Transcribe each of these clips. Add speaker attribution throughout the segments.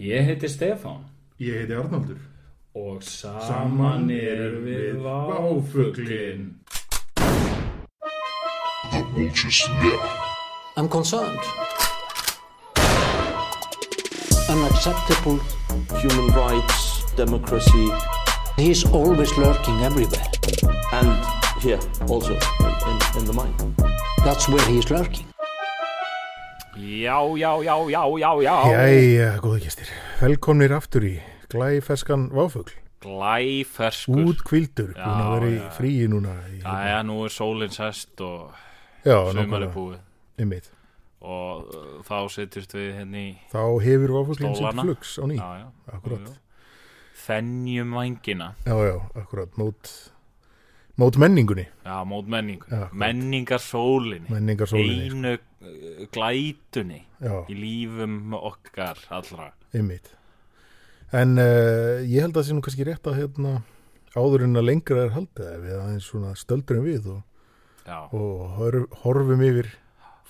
Speaker 1: Ég heiti Stefán
Speaker 2: Ég heiti Arnaldur.
Speaker 1: og saman erum við váfuglinn.
Speaker 3: I'm concerned. Unacceptable.
Speaker 4: human rights, democracy,
Speaker 3: He's always lurking everywhere.
Speaker 4: and here also in, in, in the mind.
Speaker 3: That's where he is lurking.
Speaker 1: Já, já, já, já, já, já.
Speaker 5: Jæja, góðu gestir. Velkomnir aftur í glæfeskan váfugl.
Speaker 1: Glæferskur.
Speaker 5: Út kvildur, búin að vera í
Speaker 1: já, já.
Speaker 5: fríi núna. Í,
Speaker 1: Jæja, nú er sólinn sest og
Speaker 5: já,
Speaker 1: sumar er búið.
Speaker 5: Einmitt.
Speaker 1: Og uh, þá setjumst við henni í...
Speaker 5: Þá hefur váfuglinn sitt
Speaker 1: Stólana.
Speaker 5: flugs á ný.
Speaker 1: Já, já.
Speaker 5: Akkúrat.
Speaker 1: Jú, jú. Þenjum vængina.
Speaker 5: Já, já, akkurat. Mót, mót menningunni,
Speaker 1: Já, mót menningu.
Speaker 5: Já, akkurat.
Speaker 1: Menningarsólinni.
Speaker 5: menningarsólinni. sko.
Speaker 1: Einu uh, glætunni
Speaker 5: Já,
Speaker 1: í lífum okkar allra.
Speaker 5: einmitt. En uh, ég held að það sé nú kannski rétt að hérna áður en að lengra er haldið ef við aðeins svona stöldurum við og,
Speaker 1: Já.
Speaker 5: og horf, horfum yfir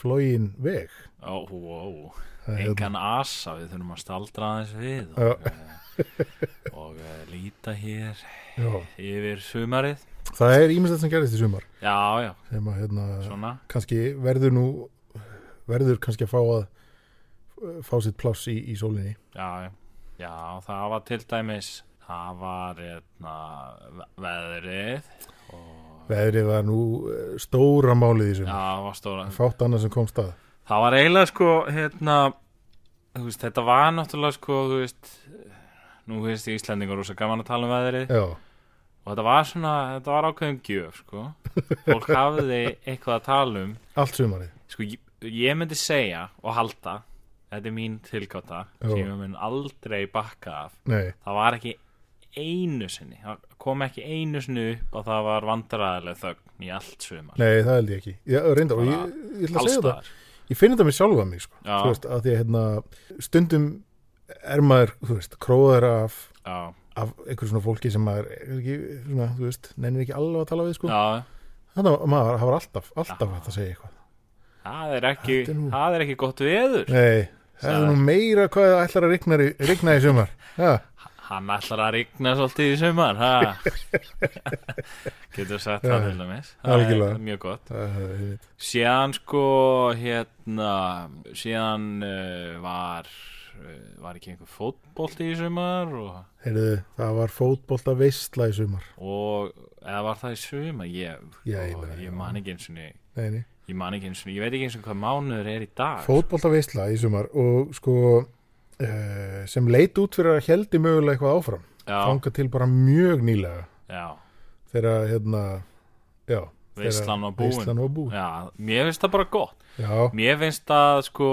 Speaker 5: flógin veg.
Speaker 1: Ó, ó, ó.
Speaker 5: Það er
Speaker 1: engan asa, við þurfum að staldra aðeins við og, eh, og eh, líta hér
Speaker 5: Já,
Speaker 1: yfir sumarið
Speaker 5: það er ímislegt sem gerist í sumar
Speaker 1: já, já,
Speaker 5: sem að hérna
Speaker 1: svona
Speaker 5: kannski verður nú verður kannski að fá að eh, fá sitt pláss í, í sólinni
Speaker 1: já, já. já, það var til dæmis það var eitna, veðrið
Speaker 5: veðrið var nú eh, stóra málið í
Speaker 1: já,
Speaker 5: sumar
Speaker 1: það var stóra
Speaker 5: fátt annað sem kom stað
Speaker 1: það var eiginlega sko hérna, þú veist, þetta var náttúrulega sko, þú veist nú veist ég Íslendingur rosa gaman að tala um veðrið
Speaker 5: já,
Speaker 1: og þetta var svona, þetta var ákveðum gjöf sko, fólk hafði eitthvað að tala um
Speaker 5: allt sumarið
Speaker 1: sko, ég, ég myndi segja og halda þetta er mín tilgáta
Speaker 5: Já.
Speaker 1: sem ég mun aldrei bakka af
Speaker 5: nei,
Speaker 1: það var ekki einu sinni það kom ekki einu sinni upp og það var vandræðileg þögn í allt sumar
Speaker 5: nei, það held ég ekki já, reyndar, og ég, ég ætla að segja það
Speaker 1: staðar.
Speaker 5: ég finn þetta mér sjálfa mig sko.
Speaker 1: Já.
Speaker 5: Þú veist, að því að hérna, stundum er maður, þú veist, króðar af
Speaker 1: já,
Speaker 5: af einhverjum svona fólki sem maður er ekki, svona, þú veist, nennir ekki alveg að tala við sko.
Speaker 1: já,
Speaker 5: þannig að maður hafa alltaf, alltaf hægt að segja eitthvað
Speaker 1: það er ekki
Speaker 5: Þetta er nú-
Speaker 1: það er ekki gott veður
Speaker 5: Nei, það er
Speaker 1: Sagði.
Speaker 5: nú meira hvað það ætlar að rigna, í- rigna í sumar. Já,
Speaker 1: hann ætlar að rigna svolítið í sumar ha? getur sagt það til dæmis það
Speaker 5: Algjörlega.
Speaker 1: er mjög gott
Speaker 5: það er einmitt.
Speaker 1: síðan sko hérna síðan uh, var uh, var ekki einhver fótbolti í sumar og,
Speaker 5: Heyrðu, það var fótbolta veistla í sumar.
Speaker 1: og eða var það í sumar ég,
Speaker 5: Já, ég
Speaker 1: og
Speaker 5: meina, já.
Speaker 1: ég man ekki eins og ég
Speaker 5: Nei, nei.
Speaker 1: man ekki eins og ég veit ekki eins og hvað mánuður er í dag
Speaker 5: Fótbolta veistla í sumar og sko uh, sem leit út fyrir að heldi mögulega eitthvað áfram.
Speaker 1: já,
Speaker 5: Fanga til bara mjög nýlega
Speaker 1: já,
Speaker 5: þegar hérna, já. þegar
Speaker 1: Veislan var búin.
Speaker 5: Veislan var búin.
Speaker 1: já mér finnst það bara gott
Speaker 5: Já,
Speaker 1: mér finnst það sko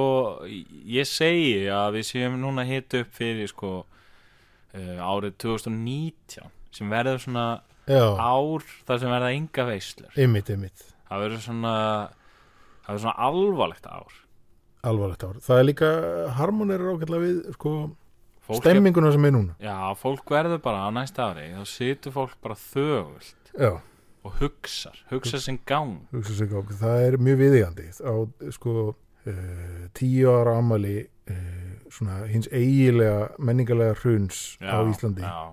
Speaker 1: ég segi að við séum núna hitt upp fyrir sko uh, árið 2019 sem verður svona
Speaker 5: já,
Speaker 1: ár þar sem verða enga veislur
Speaker 5: ymmit, ymmit.
Speaker 1: það verður svona það verður svona alvarlegt ár
Speaker 5: Alvarlegt ár. Það er líka harmonir ágætlega við sko
Speaker 1: fólk
Speaker 5: stemminguna sem er núna.
Speaker 1: er, já, fólk verður bara á næsta ári þá situr fólk bara þögult
Speaker 5: Já.
Speaker 1: og hugsar, hugsar sem gang
Speaker 5: hugsa sig á, það er mjög viðigandi á sko uh, tíu ára ammali uh, svona hins eigilega menningalega hruns
Speaker 1: já,
Speaker 5: á Íslandi
Speaker 1: já,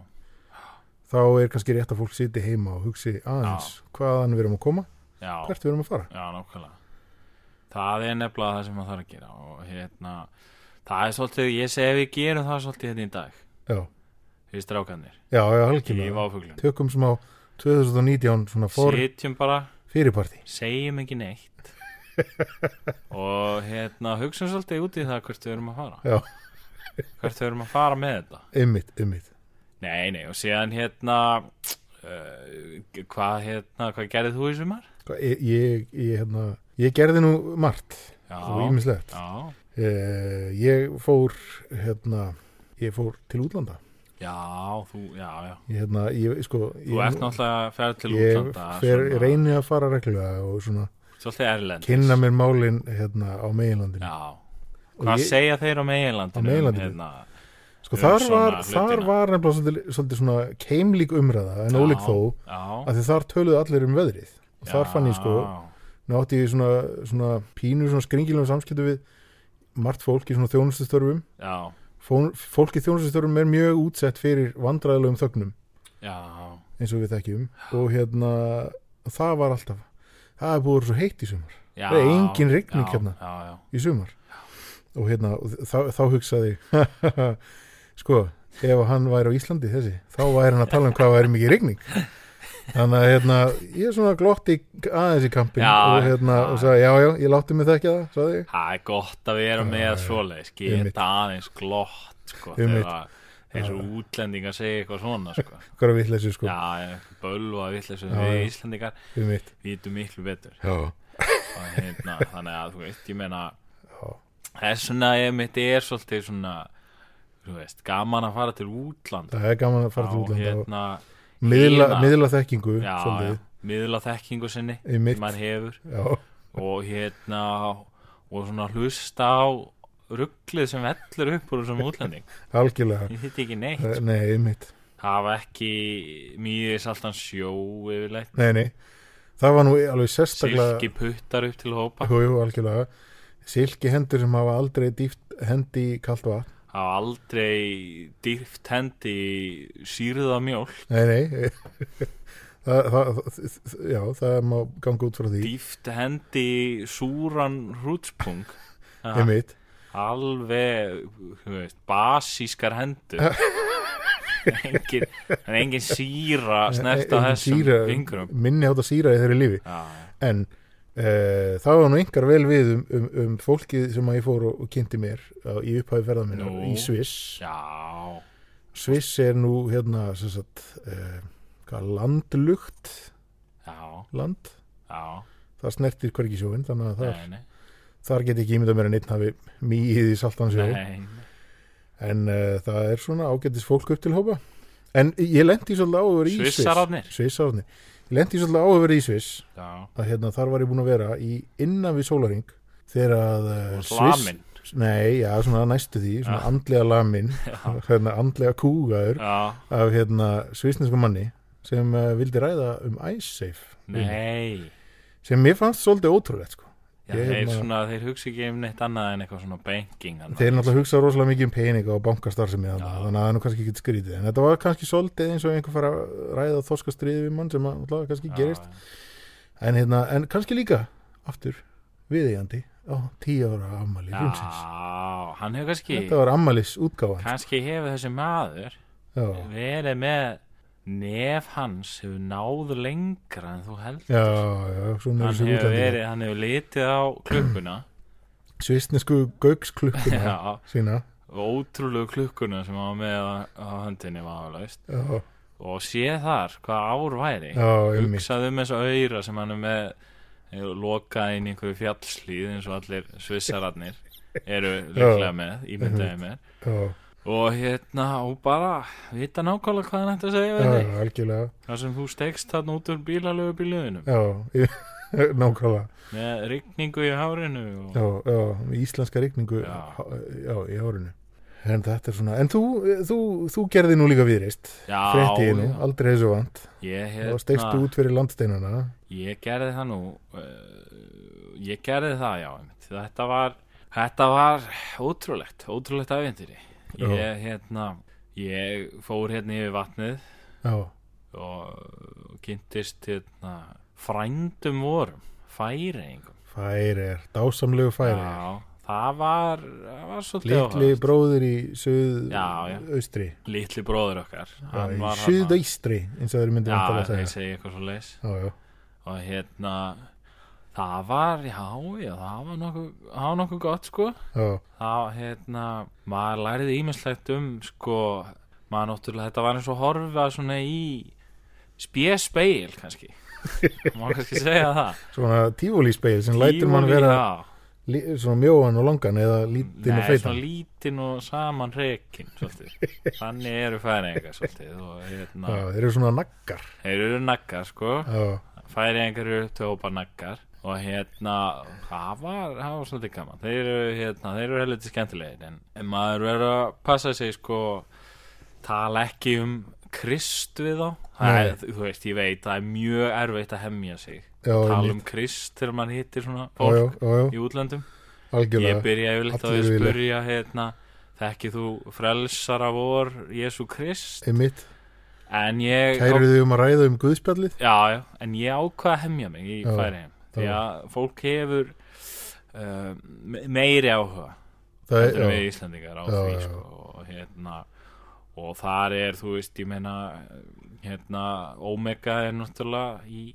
Speaker 5: þá er kannski rétt að fólk siti heima og hugsi aðeins hvaðan við erum að koma,
Speaker 1: já,
Speaker 5: hvert við erum að fara
Speaker 1: já, nákvæmlega það er nefnilega það sem maður þarf að gera og hérna, það er svolítið ég segi við gerum það svolítið hérna í dag
Speaker 5: já,
Speaker 1: við strákanir,
Speaker 5: já, já,
Speaker 1: í
Speaker 5: halkilega
Speaker 1: váfuglun
Speaker 5: tökum smá 2019 svona for,
Speaker 1: sitjum bara,
Speaker 5: fyrirparti
Speaker 1: segjum ekki neitt og hérna hugsum svolítið út í það hvert við erum að fara
Speaker 5: já,
Speaker 1: hvert við erum að fara með þetta
Speaker 5: ymmit, ymmit
Speaker 1: nei, nei, og síðan hérna uh, hvað hérna hvað gerðið þú í sumar?
Speaker 5: ég, Sko, e, ég, ég, hérna, ég gerði nú margt
Speaker 1: já,
Speaker 5: og ímislegt
Speaker 1: já,
Speaker 5: uh, ég fór hérna, ég fór til útlanda
Speaker 1: já, þú, já, já
Speaker 5: ég, hérna, ég, sko,
Speaker 1: þú
Speaker 5: ég,
Speaker 1: ert náttúrulega að ferð til
Speaker 5: ég
Speaker 1: útlanda
Speaker 5: fer,
Speaker 1: svona,
Speaker 5: reyni að fara reglulega og svona
Speaker 1: svolítið erlendis
Speaker 5: kynna mér málin hérna á meginlandinu
Speaker 1: já,
Speaker 5: Og
Speaker 1: hvað
Speaker 5: ég-
Speaker 1: segja þeir á meginlandinu
Speaker 5: Á meginlandinu?
Speaker 1: hérna,
Speaker 5: sko
Speaker 1: um
Speaker 5: þar
Speaker 1: svona
Speaker 5: var,
Speaker 1: hlutina.
Speaker 5: þar var nefnilega svolítið, svolítið svona keimlík umræða en ólík þó
Speaker 1: já,
Speaker 5: að því þar töluðu allir um veðrið og þar fann ég sko,
Speaker 1: já,
Speaker 5: nú átti ég svona, svona pínu svona skringilum samskiptu við margt fólk í svona þjónustustörfum
Speaker 1: já,
Speaker 5: fólkið þjónustustörum er mjög útsett fyrir vandræðilegum þögnum
Speaker 1: já,
Speaker 5: eins og við þekkjum og hérna, það var alltaf það er búið að vera svo heitt í sumar
Speaker 1: já
Speaker 5: Það er engin rigning
Speaker 1: já,
Speaker 5: hérna.
Speaker 1: já, já,
Speaker 5: í sumar og hérna, og þá, þá hugsaði ég, sko, ef hann væri á Íslandi þessi, þá væri hann að tala um hvað væri mikið rigning þannig að hérna, ég er svona glotti aðeins í kampin
Speaker 1: Já,
Speaker 5: og hérna,
Speaker 1: já.
Speaker 5: og sagði, já, já, ég látti mig þekkja það sagði ég,
Speaker 1: það er gott að vera með svoleiðis
Speaker 5: einmitt.
Speaker 1: geta aðeins glott sko,
Speaker 5: Einmitt.
Speaker 1: þegar eins og útlendingar segja eitthvað svona sko.
Speaker 5: hvað er vitleysu, sko,
Speaker 1: já, bölva vittlega
Speaker 5: Já,
Speaker 1: við
Speaker 5: já.
Speaker 1: Íslendingar
Speaker 5: við mitt
Speaker 1: vitum miklu betur
Speaker 5: já,
Speaker 1: Og hérna, þannig að þú veist, ég meina
Speaker 5: Já.
Speaker 1: þess vegna ég mitt er svolítið svona þú veist, gaman að fara til útlanda
Speaker 5: það er gaman að fara til
Speaker 1: Já,
Speaker 5: útlanda og
Speaker 1: hérna,
Speaker 5: miðla,
Speaker 1: hina.
Speaker 5: miðla þekkingu,
Speaker 1: já, já,
Speaker 5: svolítið,
Speaker 1: miðla þekkingu sinni
Speaker 5: Í mitt.
Speaker 1: sem maður hefur
Speaker 5: já,
Speaker 1: og hérna og svona hlusta á rugglið sem vellur upp úr þessum útlending
Speaker 5: algjörlega
Speaker 1: ég hitt ekki neitt
Speaker 5: Eh, nei, við mitt,
Speaker 1: hafa ekki mýðið saltan sjó yfirleitt,
Speaker 5: nei, nei það var nú alveg sérstaklega
Speaker 1: silki puttar upp til hópa
Speaker 5: Jú, jú, algjörlega Silki hendur sem hafa aldrei dýft hendi í kalt vatn
Speaker 1: hafa aldrei dýrt hendi í sýrða mjólk
Speaker 5: Nei, nei það, það, það, Já, það má ganga út frá því
Speaker 1: dýft hendi í súran hrútspung Ha,
Speaker 5: Einmitt
Speaker 1: alveg þú veist, basískar hendur engin, en engin síra snert á
Speaker 5: Eh, Engin
Speaker 1: þessum
Speaker 5: síra-
Speaker 1: vingurum
Speaker 5: Minni hátta síra í þeirri lífi
Speaker 1: já,
Speaker 5: En uh, það var nú einhver vel við um, um, um fólkið sem að ég fór og, og kynnti mér á, í upphæðu ferðamina
Speaker 1: Nú.
Speaker 5: í Sviss
Speaker 1: já,
Speaker 5: Sviss er nú hérna sem sagt, uh, hvað, landlugt
Speaker 1: já,
Speaker 5: land
Speaker 1: já
Speaker 5: Það snertir hvergi sjóin, þannig að það
Speaker 1: nei, nei,
Speaker 5: þar get ég ekki ímyndað mér að neitt hafi mýið í saltansjó
Speaker 1: nei,
Speaker 5: en uh, það er svona ágættis fólk upp til hópa en ég lendi svolítið á að vera í Sviss
Speaker 1: Svissararnir?
Speaker 5: Svissararnir ég lendi svolítið á að vera í Sviss
Speaker 1: já
Speaker 5: að hérna þar var ég búin að vera í innan við sólaring þegar að uh,
Speaker 1: og
Speaker 5: Sviss
Speaker 1: slamin
Speaker 5: nei, já, svona næstu því, svona
Speaker 1: Já.
Speaker 5: andlega lamin hérna, andlega kúgaður
Speaker 1: já,
Speaker 5: af hérna svissnesku manni sem uh, vildi ræða um Icesafe
Speaker 1: nei
Speaker 5: sem mér fannst svolítið ótrúlegt sko.
Speaker 1: já,
Speaker 5: Ég
Speaker 1: þeir,
Speaker 5: hefna-
Speaker 1: svona, þeir hugsa ekki um neitt annað en eitthvað svona banking annað.
Speaker 5: Þeir náttúrulega hugsa rosalega mikið um peninga og bankastarfsemi þannig,
Speaker 1: Já.
Speaker 5: þannig að það er nú kannski ekki skrítið en þetta var kannski svolítið eins og einhver fara að ræða þorskastriði við mann sem að náttúrulega kannski
Speaker 1: Já,
Speaker 5: gerist en, hérna, en kannski líka aftur viðeigandi á tíu ára ammali
Speaker 1: já,
Speaker 5: hrunsins
Speaker 1: hann hefur kannski
Speaker 5: um Þetta var ammalis útgáfan
Speaker 1: kannski hefur þessi maður
Speaker 5: Já,
Speaker 1: verið með nef hans hefur náð lengra en þú heldur
Speaker 5: já, já svona
Speaker 1: hann
Speaker 5: er þessi
Speaker 1: hefur,
Speaker 5: útlandi
Speaker 1: verið, hann hefur litið á klukkuna
Speaker 5: Svistnesku gauksklukkuna
Speaker 1: já,
Speaker 5: sína
Speaker 1: ótrúlegu klukkuna sem hann var með á, á höndinni vafalaust
Speaker 5: Já,
Speaker 1: og sé þar hvað ár væri
Speaker 5: já, einmitt
Speaker 1: hugsaðu um þessu auðra sem hann er með er lokað inn í einhverju fjallslíð eins og allir svissararnir eru líklega með, ímyndaði
Speaker 5: Mhm.
Speaker 1: með
Speaker 5: Já,
Speaker 1: og hérna, og bara vita nákvæmlega hvað hann ætti að segja
Speaker 5: já,
Speaker 1: við þig
Speaker 5: algjörlega
Speaker 1: þar sem þú stegst þarna út úr bílalögu bíluðinum
Speaker 5: Já, nákvæmlega
Speaker 1: með rigningu í hárinu og...
Speaker 5: já, já, með íslenska rigningu
Speaker 1: Já.
Speaker 5: já. já, í árinu en þetta er svona, en þú, þú, þú gerði nú líka viðreist
Speaker 1: Já,
Speaker 5: frétti nú,
Speaker 1: já.
Speaker 5: aldrei þessu vant
Speaker 1: ég,
Speaker 5: og steikstu
Speaker 1: hérna,
Speaker 5: út fyrir landsteinana
Speaker 1: ég gerði það nú uh, ég gerði það já einmitt. þetta var, þetta var ótrúlegt, ótrúlegt aðventyri
Speaker 5: Já.
Speaker 1: ég hérna ég fór hérna yfir vatnið
Speaker 5: já,
Speaker 1: og kynntist hérna frændum vorum færingum
Speaker 5: færir, dásamlegu færir
Speaker 1: já, það var, það var svolítið
Speaker 5: litli
Speaker 1: áhugavert.
Speaker 5: bróðir í suð
Speaker 1: Já, já.
Speaker 5: austri
Speaker 1: litli bróður okkar
Speaker 5: Já,
Speaker 1: hann
Speaker 5: í
Speaker 1: var þarna.
Speaker 5: suðaustri, eins og þeir myndi
Speaker 1: já,
Speaker 5: vantar að
Speaker 1: ég
Speaker 5: segja
Speaker 1: segi eitthvað svo leis
Speaker 5: já, já,
Speaker 1: og hérna það var, já, já, það var nokkuð, það var nokkuð gott sko
Speaker 5: já,
Speaker 1: þá, hérna, maður læriði ímislegt um, sko maður náttúrulega, þetta var eins og horfa svona í spjesspeil kannski, má kannski segja það
Speaker 5: svona tífúlíspeil sem lætur mann
Speaker 1: Tívolí,
Speaker 5: vera
Speaker 1: já.
Speaker 5: li, svona mjóan og langan eða lítinn
Speaker 1: Nei,
Speaker 5: og
Speaker 1: svona
Speaker 5: feitan
Speaker 1: lítinn og saman reikin þannig eru færingar svolítið, og hérna,
Speaker 5: já, þeir eru svona naggar
Speaker 1: þeir eru naggar sko
Speaker 5: já,
Speaker 1: færi einhverju upp til hópa naggar og hérna, það var, það var svolítið gaman þeir eru, hérna, þeir eru helviti skemmtilegir en, en maður verður að passa sig sko, tala ekki um krist við þá það er,
Speaker 5: Nei.
Speaker 1: þú veist, ég veit, það er mjög erfitt að hemja sig
Speaker 5: já,
Speaker 1: tala
Speaker 5: einmitt.
Speaker 1: um krist þegar mann hittir svona
Speaker 5: já, já,
Speaker 1: fólk
Speaker 5: já, já,
Speaker 1: í útlöndum
Speaker 5: algjörlega
Speaker 1: ég byrja yfirleitt á því
Speaker 5: Allir
Speaker 1: að
Speaker 5: vilja.
Speaker 1: spyrja hérna, þekki þú frelsara vor Jésu Krist
Speaker 5: einmitt,
Speaker 1: en ég
Speaker 5: kæruðu um að ræða um guðspjallið
Speaker 1: já, já, en ég ákvað að hemja mig í
Speaker 5: Já,
Speaker 1: færiðum því
Speaker 5: já.
Speaker 1: að fólk hefur uh, me- meiri áhuga
Speaker 5: það
Speaker 1: heldur
Speaker 5: er,
Speaker 1: við
Speaker 5: já,
Speaker 1: Íslandingar á
Speaker 5: Já,
Speaker 1: því
Speaker 5: já, já.
Speaker 1: sko, og hérna og þar er, þú veist, ég meina hérna, Omega er náttúrulega í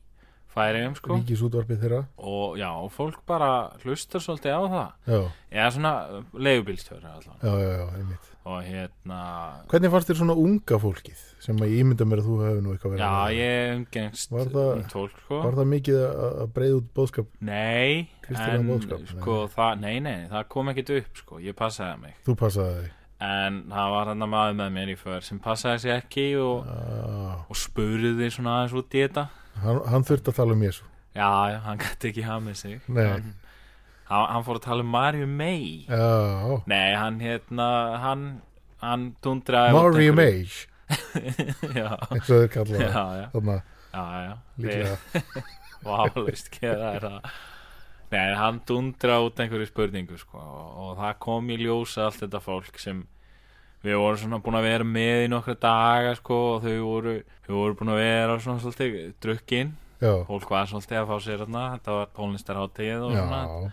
Speaker 1: færiðum sko
Speaker 5: ríkisútvarpið þeirra
Speaker 1: og já, og fólk bara hlustar svolítið á það
Speaker 5: já,
Speaker 1: eða svona leigubílstjóri allan
Speaker 5: já, já, já, einmitt
Speaker 1: og hérna,
Speaker 5: hvernig fannst þér svona unga fólkið sem að ég ímynda mér að þú hefur nú eitthvað verið
Speaker 1: já,
Speaker 5: að-
Speaker 1: ég umgengst
Speaker 5: Var það-
Speaker 1: um tólk sko
Speaker 5: var það mikið að að breiða út bóðskap
Speaker 1: Nei,
Speaker 5: Kristilegan
Speaker 1: en
Speaker 5: boðskap,
Speaker 1: sko það, nei, nei, það kom ekkit upp sko, ég passaði mig
Speaker 5: þú passaði þig
Speaker 1: en það var hann að maður með mér í för sem passaði sig ekki og,
Speaker 5: Já,
Speaker 1: og spurði svona aðeins út í þetta
Speaker 5: hann, hann þurfti að tala um Jésu
Speaker 1: Já, já, hann gæti ekki hafa með sig
Speaker 5: Nei.
Speaker 1: hann, hann hann fór að tala um Marju May
Speaker 5: já,
Speaker 1: Nei, hann hérna, hann hann dundraði út
Speaker 5: Mary
Speaker 1: einhverju-
Speaker 5: Mage
Speaker 1: Já,
Speaker 5: eins og þeir kalla
Speaker 1: já,
Speaker 5: það
Speaker 1: já,
Speaker 5: þannig
Speaker 1: já, já
Speaker 5: líklega
Speaker 1: Válaust keða er það Nei, hann dundra út einhverju spurningu sko, og, og það kom í ljósa allt þetta fólk sem við vorum svona búin að vera með í nokkra daga sko, og þau voru, þau voru búin að vera svona svolítið drukkin
Speaker 5: já,
Speaker 1: fólk var svolítið að fá sér þarna þetta var tónlistarhátíð og svona
Speaker 5: já,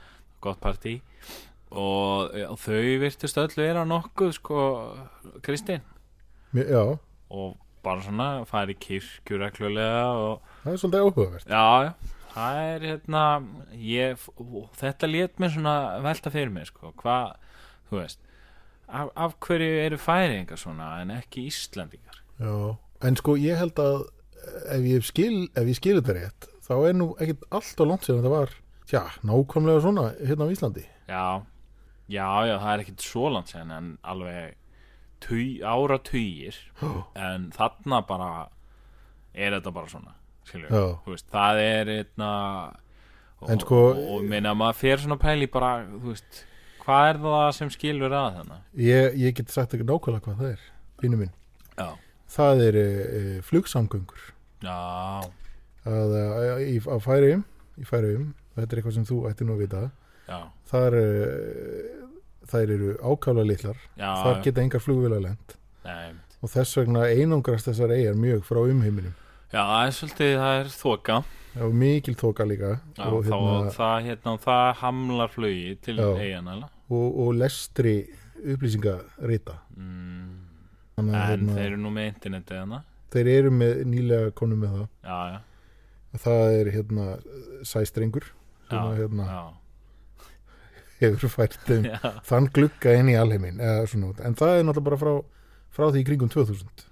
Speaker 1: gott partí og, og þau virtust öll vera nokkuð sko, Kristinn
Speaker 5: Mér- já
Speaker 1: og bara svona farið kirkjur reglulega og
Speaker 5: það er svolítið áhugavert
Speaker 1: Já, já, það er hérna ég, og þetta lét mér svona velta fyrir mér, sko, hvað þú veist, af, af hverju eru færingar svona en ekki Íslandingar
Speaker 5: Já, en sko ég held að ef ég skil, ef ég skil þetta rétt þá er nú ekkert allt á langt sem þetta var tja, nákvæmlega svona hérna á Íslandi
Speaker 1: Já, já, já, það er ekkit svo langt sen en alveg tug, ára tugir en þarna bara er þetta bara svona, skilju
Speaker 5: Já.
Speaker 1: þú veist, það er hérna og,
Speaker 5: En sko-
Speaker 1: og, og minna maður fer svona pæli bara, þú veist hvað er það sem skilur að þarna
Speaker 5: ég, ég get sagt ekki nákvæmlega hvað það er vinnu minn,
Speaker 1: Já,
Speaker 5: það er e, e, flugsamgöngur
Speaker 1: já
Speaker 5: að, að, í, að færiðum í færiðum, þetta er eitthvað sem þú ætti nú að vita
Speaker 1: Já,
Speaker 5: þar e, þær eru ákaflega litlar
Speaker 1: já,
Speaker 5: þar geta engar flugvila lent
Speaker 1: nei, einmitt.
Speaker 5: og þess vegna einangrast þessar eigar mjög frá umheiminum
Speaker 1: já, það er svolítið, það er þoka
Speaker 5: og mikil þóka líka
Speaker 1: já,
Speaker 5: og,
Speaker 1: þá, það, hérna, það hamlar flugi til
Speaker 5: Já.
Speaker 1: eigin
Speaker 5: og, og lestri upplýsingarita
Speaker 1: mm, en
Speaker 5: þannig að hérna,
Speaker 1: þeir
Speaker 5: þeir...
Speaker 1: eru nú með internetið hana
Speaker 5: eru með nýlega konum með það
Speaker 1: já, já,
Speaker 5: það er hérna sæstrengur sem
Speaker 1: já,
Speaker 5: að, hérna,
Speaker 1: já,
Speaker 5: hefur fært þeim
Speaker 1: já,
Speaker 5: þann glugga inn í alheimin eða, svona, en það er náttúrulega bara frá, frá því í kringum 2000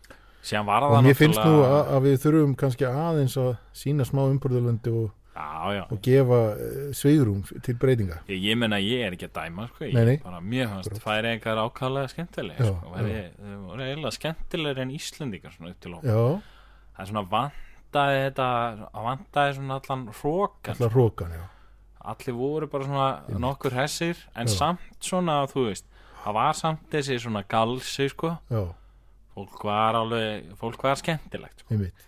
Speaker 1: síðan var
Speaker 5: og
Speaker 1: það
Speaker 5: mér finnst nú að,
Speaker 1: náttúrulega-
Speaker 5: að við þurfum kannski aðeins að sína smá umburðalöndi og,
Speaker 1: já, já,
Speaker 5: og gefa uh, sveigrúm til breytinga
Speaker 1: ég, ég menna ég er ekki að dæma sko, ég
Speaker 5: Nei, nei.
Speaker 1: bara mér fannst færi einhver ákallega skemmtileg
Speaker 5: Já,
Speaker 1: sko, væri, þau voru eiginlega skemmtilegri en Íslendingar svona upp til lók
Speaker 5: já,
Speaker 1: það er svona vantaði þetta vantaði svona allan hrókan
Speaker 5: allar rókan já.
Speaker 1: allir voru bara svona nokkur hessir en
Speaker 5: Já.
Speaker 1: samt svona þú veist það var samt þessi svona galsi sko.
Speaker 5: já,
Speaker 1: fólk var alveg fólk var skemmtilegt sko.
Speaker 5: einmitt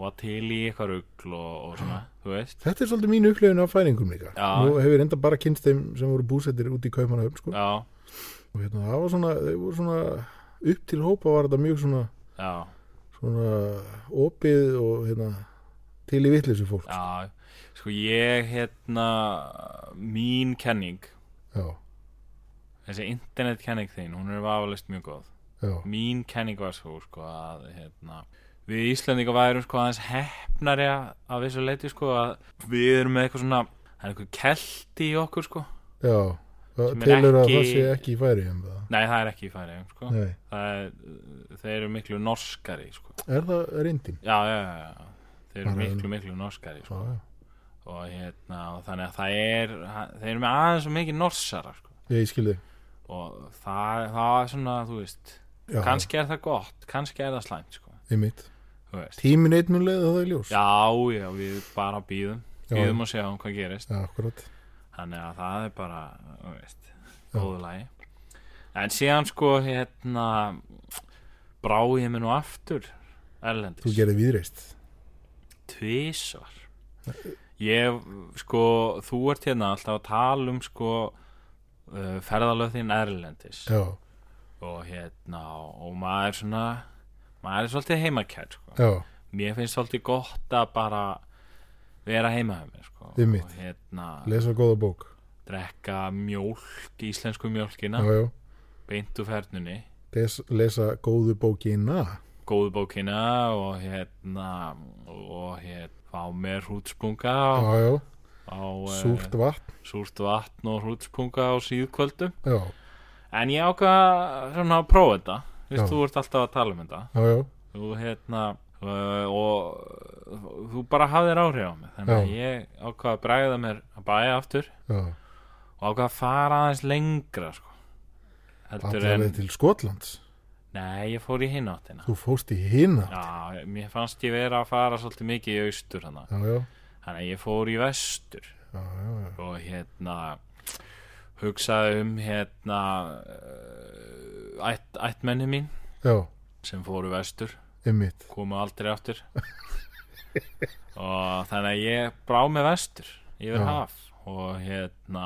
Speaker 1: og til í eitthvað rugl og, og svona þú veist
Speaker 5: Þetta er svolítið mín upplifun af færingum líka
Speaker 1: Já.
Speaker 5: Nú hefur enda bara kynst þeim sem voru búsettir út í Kaupmannahöfn sko.
Speaker 1: já,
Speaker 5: og hérna, það var svona, þeir voru svona upp til hópa var þetta mjög svona,
Speaker 1: já,
Speaker 5: svona opið og hérna, til í vitleysu fólk já.
Speaker 1: já sko ég hérna mín kenning
Speaker 5: Já,
Speaker 1: þessi internetkenning þín hún er vafalist mjög góð
Speaker 5: já,
Speaker 1: mín kenning var svo sko að hérna, við Íslandingar værum sko aðeins hefnari að að vissu leiti sko að við erum með eitthvað svona það er eitthvað kelti í okkur sko
Speaker 5: já. Það
Speaker 1: Sem er
Speaker 5: telur að
Speaker 1: ekki-
Speaker 5: það sé ekki í færingum það.
Speaker 1: nei það er ekki í færi sko.
Speaker 5: Nei,
Speaker 1: það er, þeir eru miklu norskari sko.
Speaker 5: er það reyndin?
Speaker 1: já, já, já, já þeir eru
Speaker 5: Bara-
Speaker 1: miklu miklu norskari
Speaker 5: Já,
Speaker 1: sko.
Speaker 5: já.
Speaker 1: og hérna og þannig að það er þeir eru með aðeins og mikið norsara sko.
Speaker 5: Ég skilði
Speaker 1: og það, það er svona þú veist
Speaker 5: Já,
Speaker 1: kannski er það gott, kannski er það slæmt sko.
Speaker 5: einmitt
Speaker 1: þú veist
Speaker 5: Tímin eitt mun leiða það í ljós
Speaker 1: Já, já, við bara býðum
Speaker 5: Já.
Speaker 1: býðum og sjáum hvað gerist
Speaker 5: Já, akkurat
Speaker 1: þannig að það er bara, þú veist góðu lagi en síðan sko, hérna brá ég mér nú aftur
Speaker 5: Þú
Speaker 1: erlendis,
Speaker 5: gerði viðreist
Speaker 1: tvísvar ég, sko þú ert hérna alltaf að tala um sko uh, ferðalöð þín erlendis
Speaker 5: Já,
Speaker 1: og hérna og maður svona maður er svolítið heimakær sko.
Speaker 5: já,
Speaker 1: mér finnst svolítið gott að bara vera heima hjá mér sko.
Speaker 5: Einmitt.
Speaker 1: og hérna
Speaker 5: lesa góða bók
Speaker 1: drekka mjólk íslensku mjólkina
Speaker 5: já, já,
Speaker 1: beint úr fernunni
Speaker 5: Des, lesa góðu bókina
Speaker 1: góðu bókina og hérna og hérna fá mér hrútspunga
Speaker 5: já,
Speaker 1: og,
Speaker 5: já,
Speaker 1: og eh,
Speaker 5: súrt vatn
Speaker 1: súrt vatn og hrútspunga á síðkvöldum
Speaker 5: já,
Speaker 1: en ég ákvað svona að prófa þetta
Speaker 5: Já.
Speaker 1: Vist, þú ert alltaf að tala um þetta
Speaker 5: já, já,
Speaker 1: þú hérna uh, og þú bara hafðir áhrif á mig þannig að
Speaker 5: Já.
Speaker 1: ég ákvað að bræða mér að bæja aftur
Speaker 5: já
Speaker 1: og ákvað að fara aðeins lengra sko. heldur
Speaker 5: allaveg
Speaker 1: en
Speaker 5: til Skotlands
Speaker 1: nei, ég fór í hinn áttina
Speaker 5: þú fóst í hina já,
Speaker 1: já, mér fannst ég vera að fara svolítið mikið í austur hana.
Speaker 5: já,
Speaker 1: þannig að ég fór í vestur
Speaker 5: já, já, já.
Speaker 1: og hérna hugsaði um hérna uh, ætt, ættmenni mín
Speaker 5: já
Speaker 1: sem fóru vestur
Speaker 5: einmitt,
Speaker 1: komu aldrei aftur og þannig að ég brá með vestur yfir
Speaker 5: Já.
Speaker 1: haf og hérna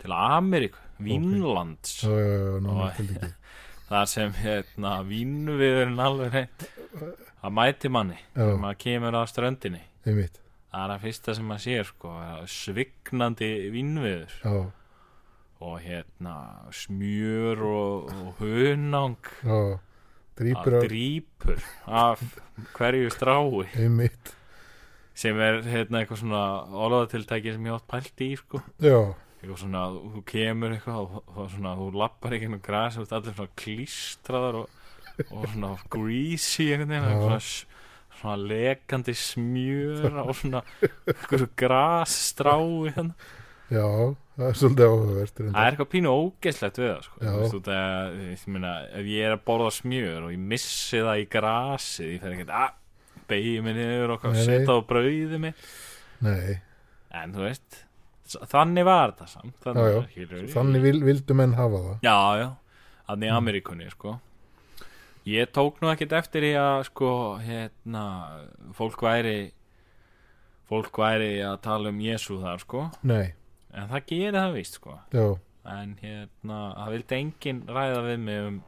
Speaker 1: til Ameríku, Vínlands
Speaker 5: já, já, já, nána
Speaker 1: Og-
Speaker 5: til ekki
Speaker 1: þar sem hérna vínu við erum alveg reynd að mæti manni
Speaker 5: Já.
Speaker 1: þegar maður kemur að ströndinni
Speaker 5: einmitt,
Speaker 1: það er að fyrsta sem maður sér sko, er svignandi vínviður
Speaker 5: já,
Speaker 1: og hérna smjör og, og hunang
Speaker 5: já
Speaker 1: að
Speaker 5: drýpur að,
Speaker 1: drýpur af hverju strái
Speaker 5: einmitt
Speaker 1: sem er hérna eitthvað svona orðatiltæki sem ég átt pælt í sko.
Speaker 5: já,
Speaker 1: eitthvað svona að þú kemur eitthvað og og svona þú lappar ekki ennum græs og þú ert allir svona klístraðar og, og svona greasy einhvern veginn
Speaker 5: Já.
Speaker 1: eitthvað svona, s- svona lekandi smjör og svona einhverju grasstrái hérna.
Speaker 5: já, það er svolítið áhugavert reyndar.
Speaker 1: það er eitthvað pínu ógeðslegt við það sko.
Speaker 5: Já.
Speaker 1: Þú veist, út að, ég meina, ef ég er að borða smjör og ég missi það í grasið ég fer ekki að beigja mig niður og
Speaker 5: Nei, nei.
Speaker 1: setja á brauðið mig
Speaker 5: nei,
Speaker 1: en þú veist s- þannig var þetta samt
Speaker 5: Já, já.
Speaker 1: já, já.
Speaker 5: þannig vil, vildu menn hafa það
Speaker 1: já, já, þannig í Ameríkunni sko. ég tók nú ekkert eftir í að sko, hérna, fólk væri fólk væri að tala um Jésu þar sko.
Speaker 5: nei,
Speaker 1: en það gerir það víst sko.
Speaker 5: já,
Speaker 1: en hérna, það vildi enginn ræða við mig um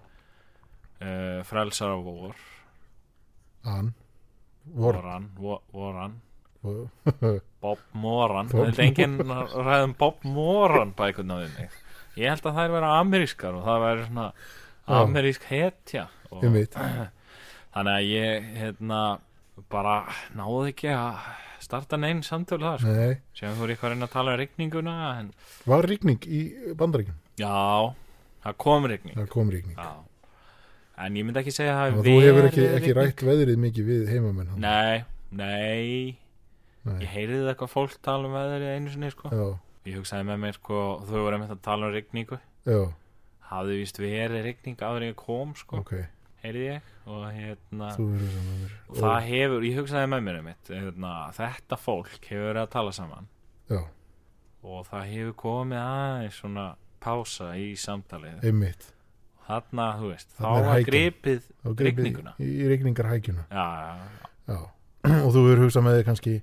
Speaker 1: uh, frelsar á vor
Speaker 5: hann vor,
Speaker 1: voran, vo- voran
Speaker 5: vor.
Speaker 1: Bob Moran
Speaker 5: Bob
Speaker 1: það er enginn að ræða um Bob Moran bækurna við mig ég held að þær vera amerískar og það væri svona
Speaker 5: Já.
Speaker 1: amerísk hetja og
Speaker 5: einmitt,
Speaker 1: þannig að ég hérna bara náði ekki að starta neinn samtölu það sko.
Speaker 5: nei
Speaker 1: sem þú eru eitthvað að reyna að tala um rigninguna en
Speaker 5: Var rigning í bandaríkjum?
Speaker 1: já, það kom rigning
Speaker 5: Það kom rigning.
Speaker 1: já. en ég myndi ekki segja að
Speaker 5: Og
Speaker 1: það
Speaker 5: þú
Speaker 1: hafi
Speaker 5: hefur ekki,
Speaker 1: verið
Speaker 5: ekki
Speaker 1: rigning.
Speaker 5: rætt veðrið mikið við heimamenn. hann.
Speaker 1: nei, nei,
Speaker 5: Nei.
Speaker 1: ég heyrði eitthvað fólk tala um veðrið einu sinni sko.
Speaker 5: Já,
Speaker 1: ég hugsaði með mér sko, þau voru einmitt að tala um rigningu
Speaker 5: já,
Speaker 1: hafði víst verið rigning áður en ég kom sko,
Speaker 5: ok.
Speaker 1: heyrði ég og hérna,
Speaker 5: Þú verður saman mér.
Speaker 1: og það hefur ég hugsaði með mér um mitt, hérna, þetta fólk hefur verið að tala saman
Speaker 5: Já,
Speaker 1: og það hefur komið aðeins svona pása í samtalið
Speaker 5: einmitt.
Speaker 1: þarna, þú veist, þá
Speaker 5: Þarna er
Speaker 1: var
Speaker 5: hækjan.
Speaker 1: gripið
Speaker 5: Þá gripið
Speaker 1: Rigninguna.
Speaker 5: Í, í rigningarhækjuna.
Speaker 1: já, já, já,
Speaker 5: Já. Og þú verður hugsað með þig kannski,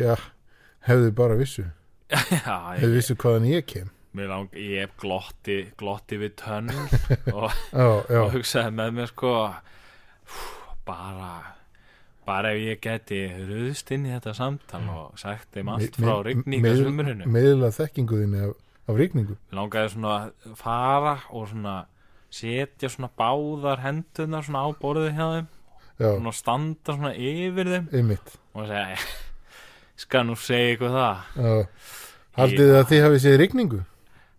Speaker 5: já, hefðu bara vissu.
Speaker 1: já ég,
Speaker 5: Hefðu vissu hvaðan ég kem.
Speaker 1: mig lang, ég hef glotti glotti við tönn og,
Speaker 5: Já, já,
Speaker 1: og hugsaði með mér sko "Phew, bara bara ef ég geti ruðst inn í þetta samtal og sagt þeim um allt frá
Speaker 5: Mm. Mi- mi-
Speaker 1: rigningasumurinu
Speaker 5: miðl- Miðla þekkingu þín af, af rigningu.
Speaker 1: langaði svona að fara og svona setja svona báðar hendunar svona á borðið hjá þeim
Speaker 5: Já,
Speaker 1: svona standa svona yfir þeim
Speaker 5: einmitt.
Speaker 1: og segja "Ég skal nú segja ykkur það
Speaker 5: Já. Haldið þið að þið hafið séð rigningu?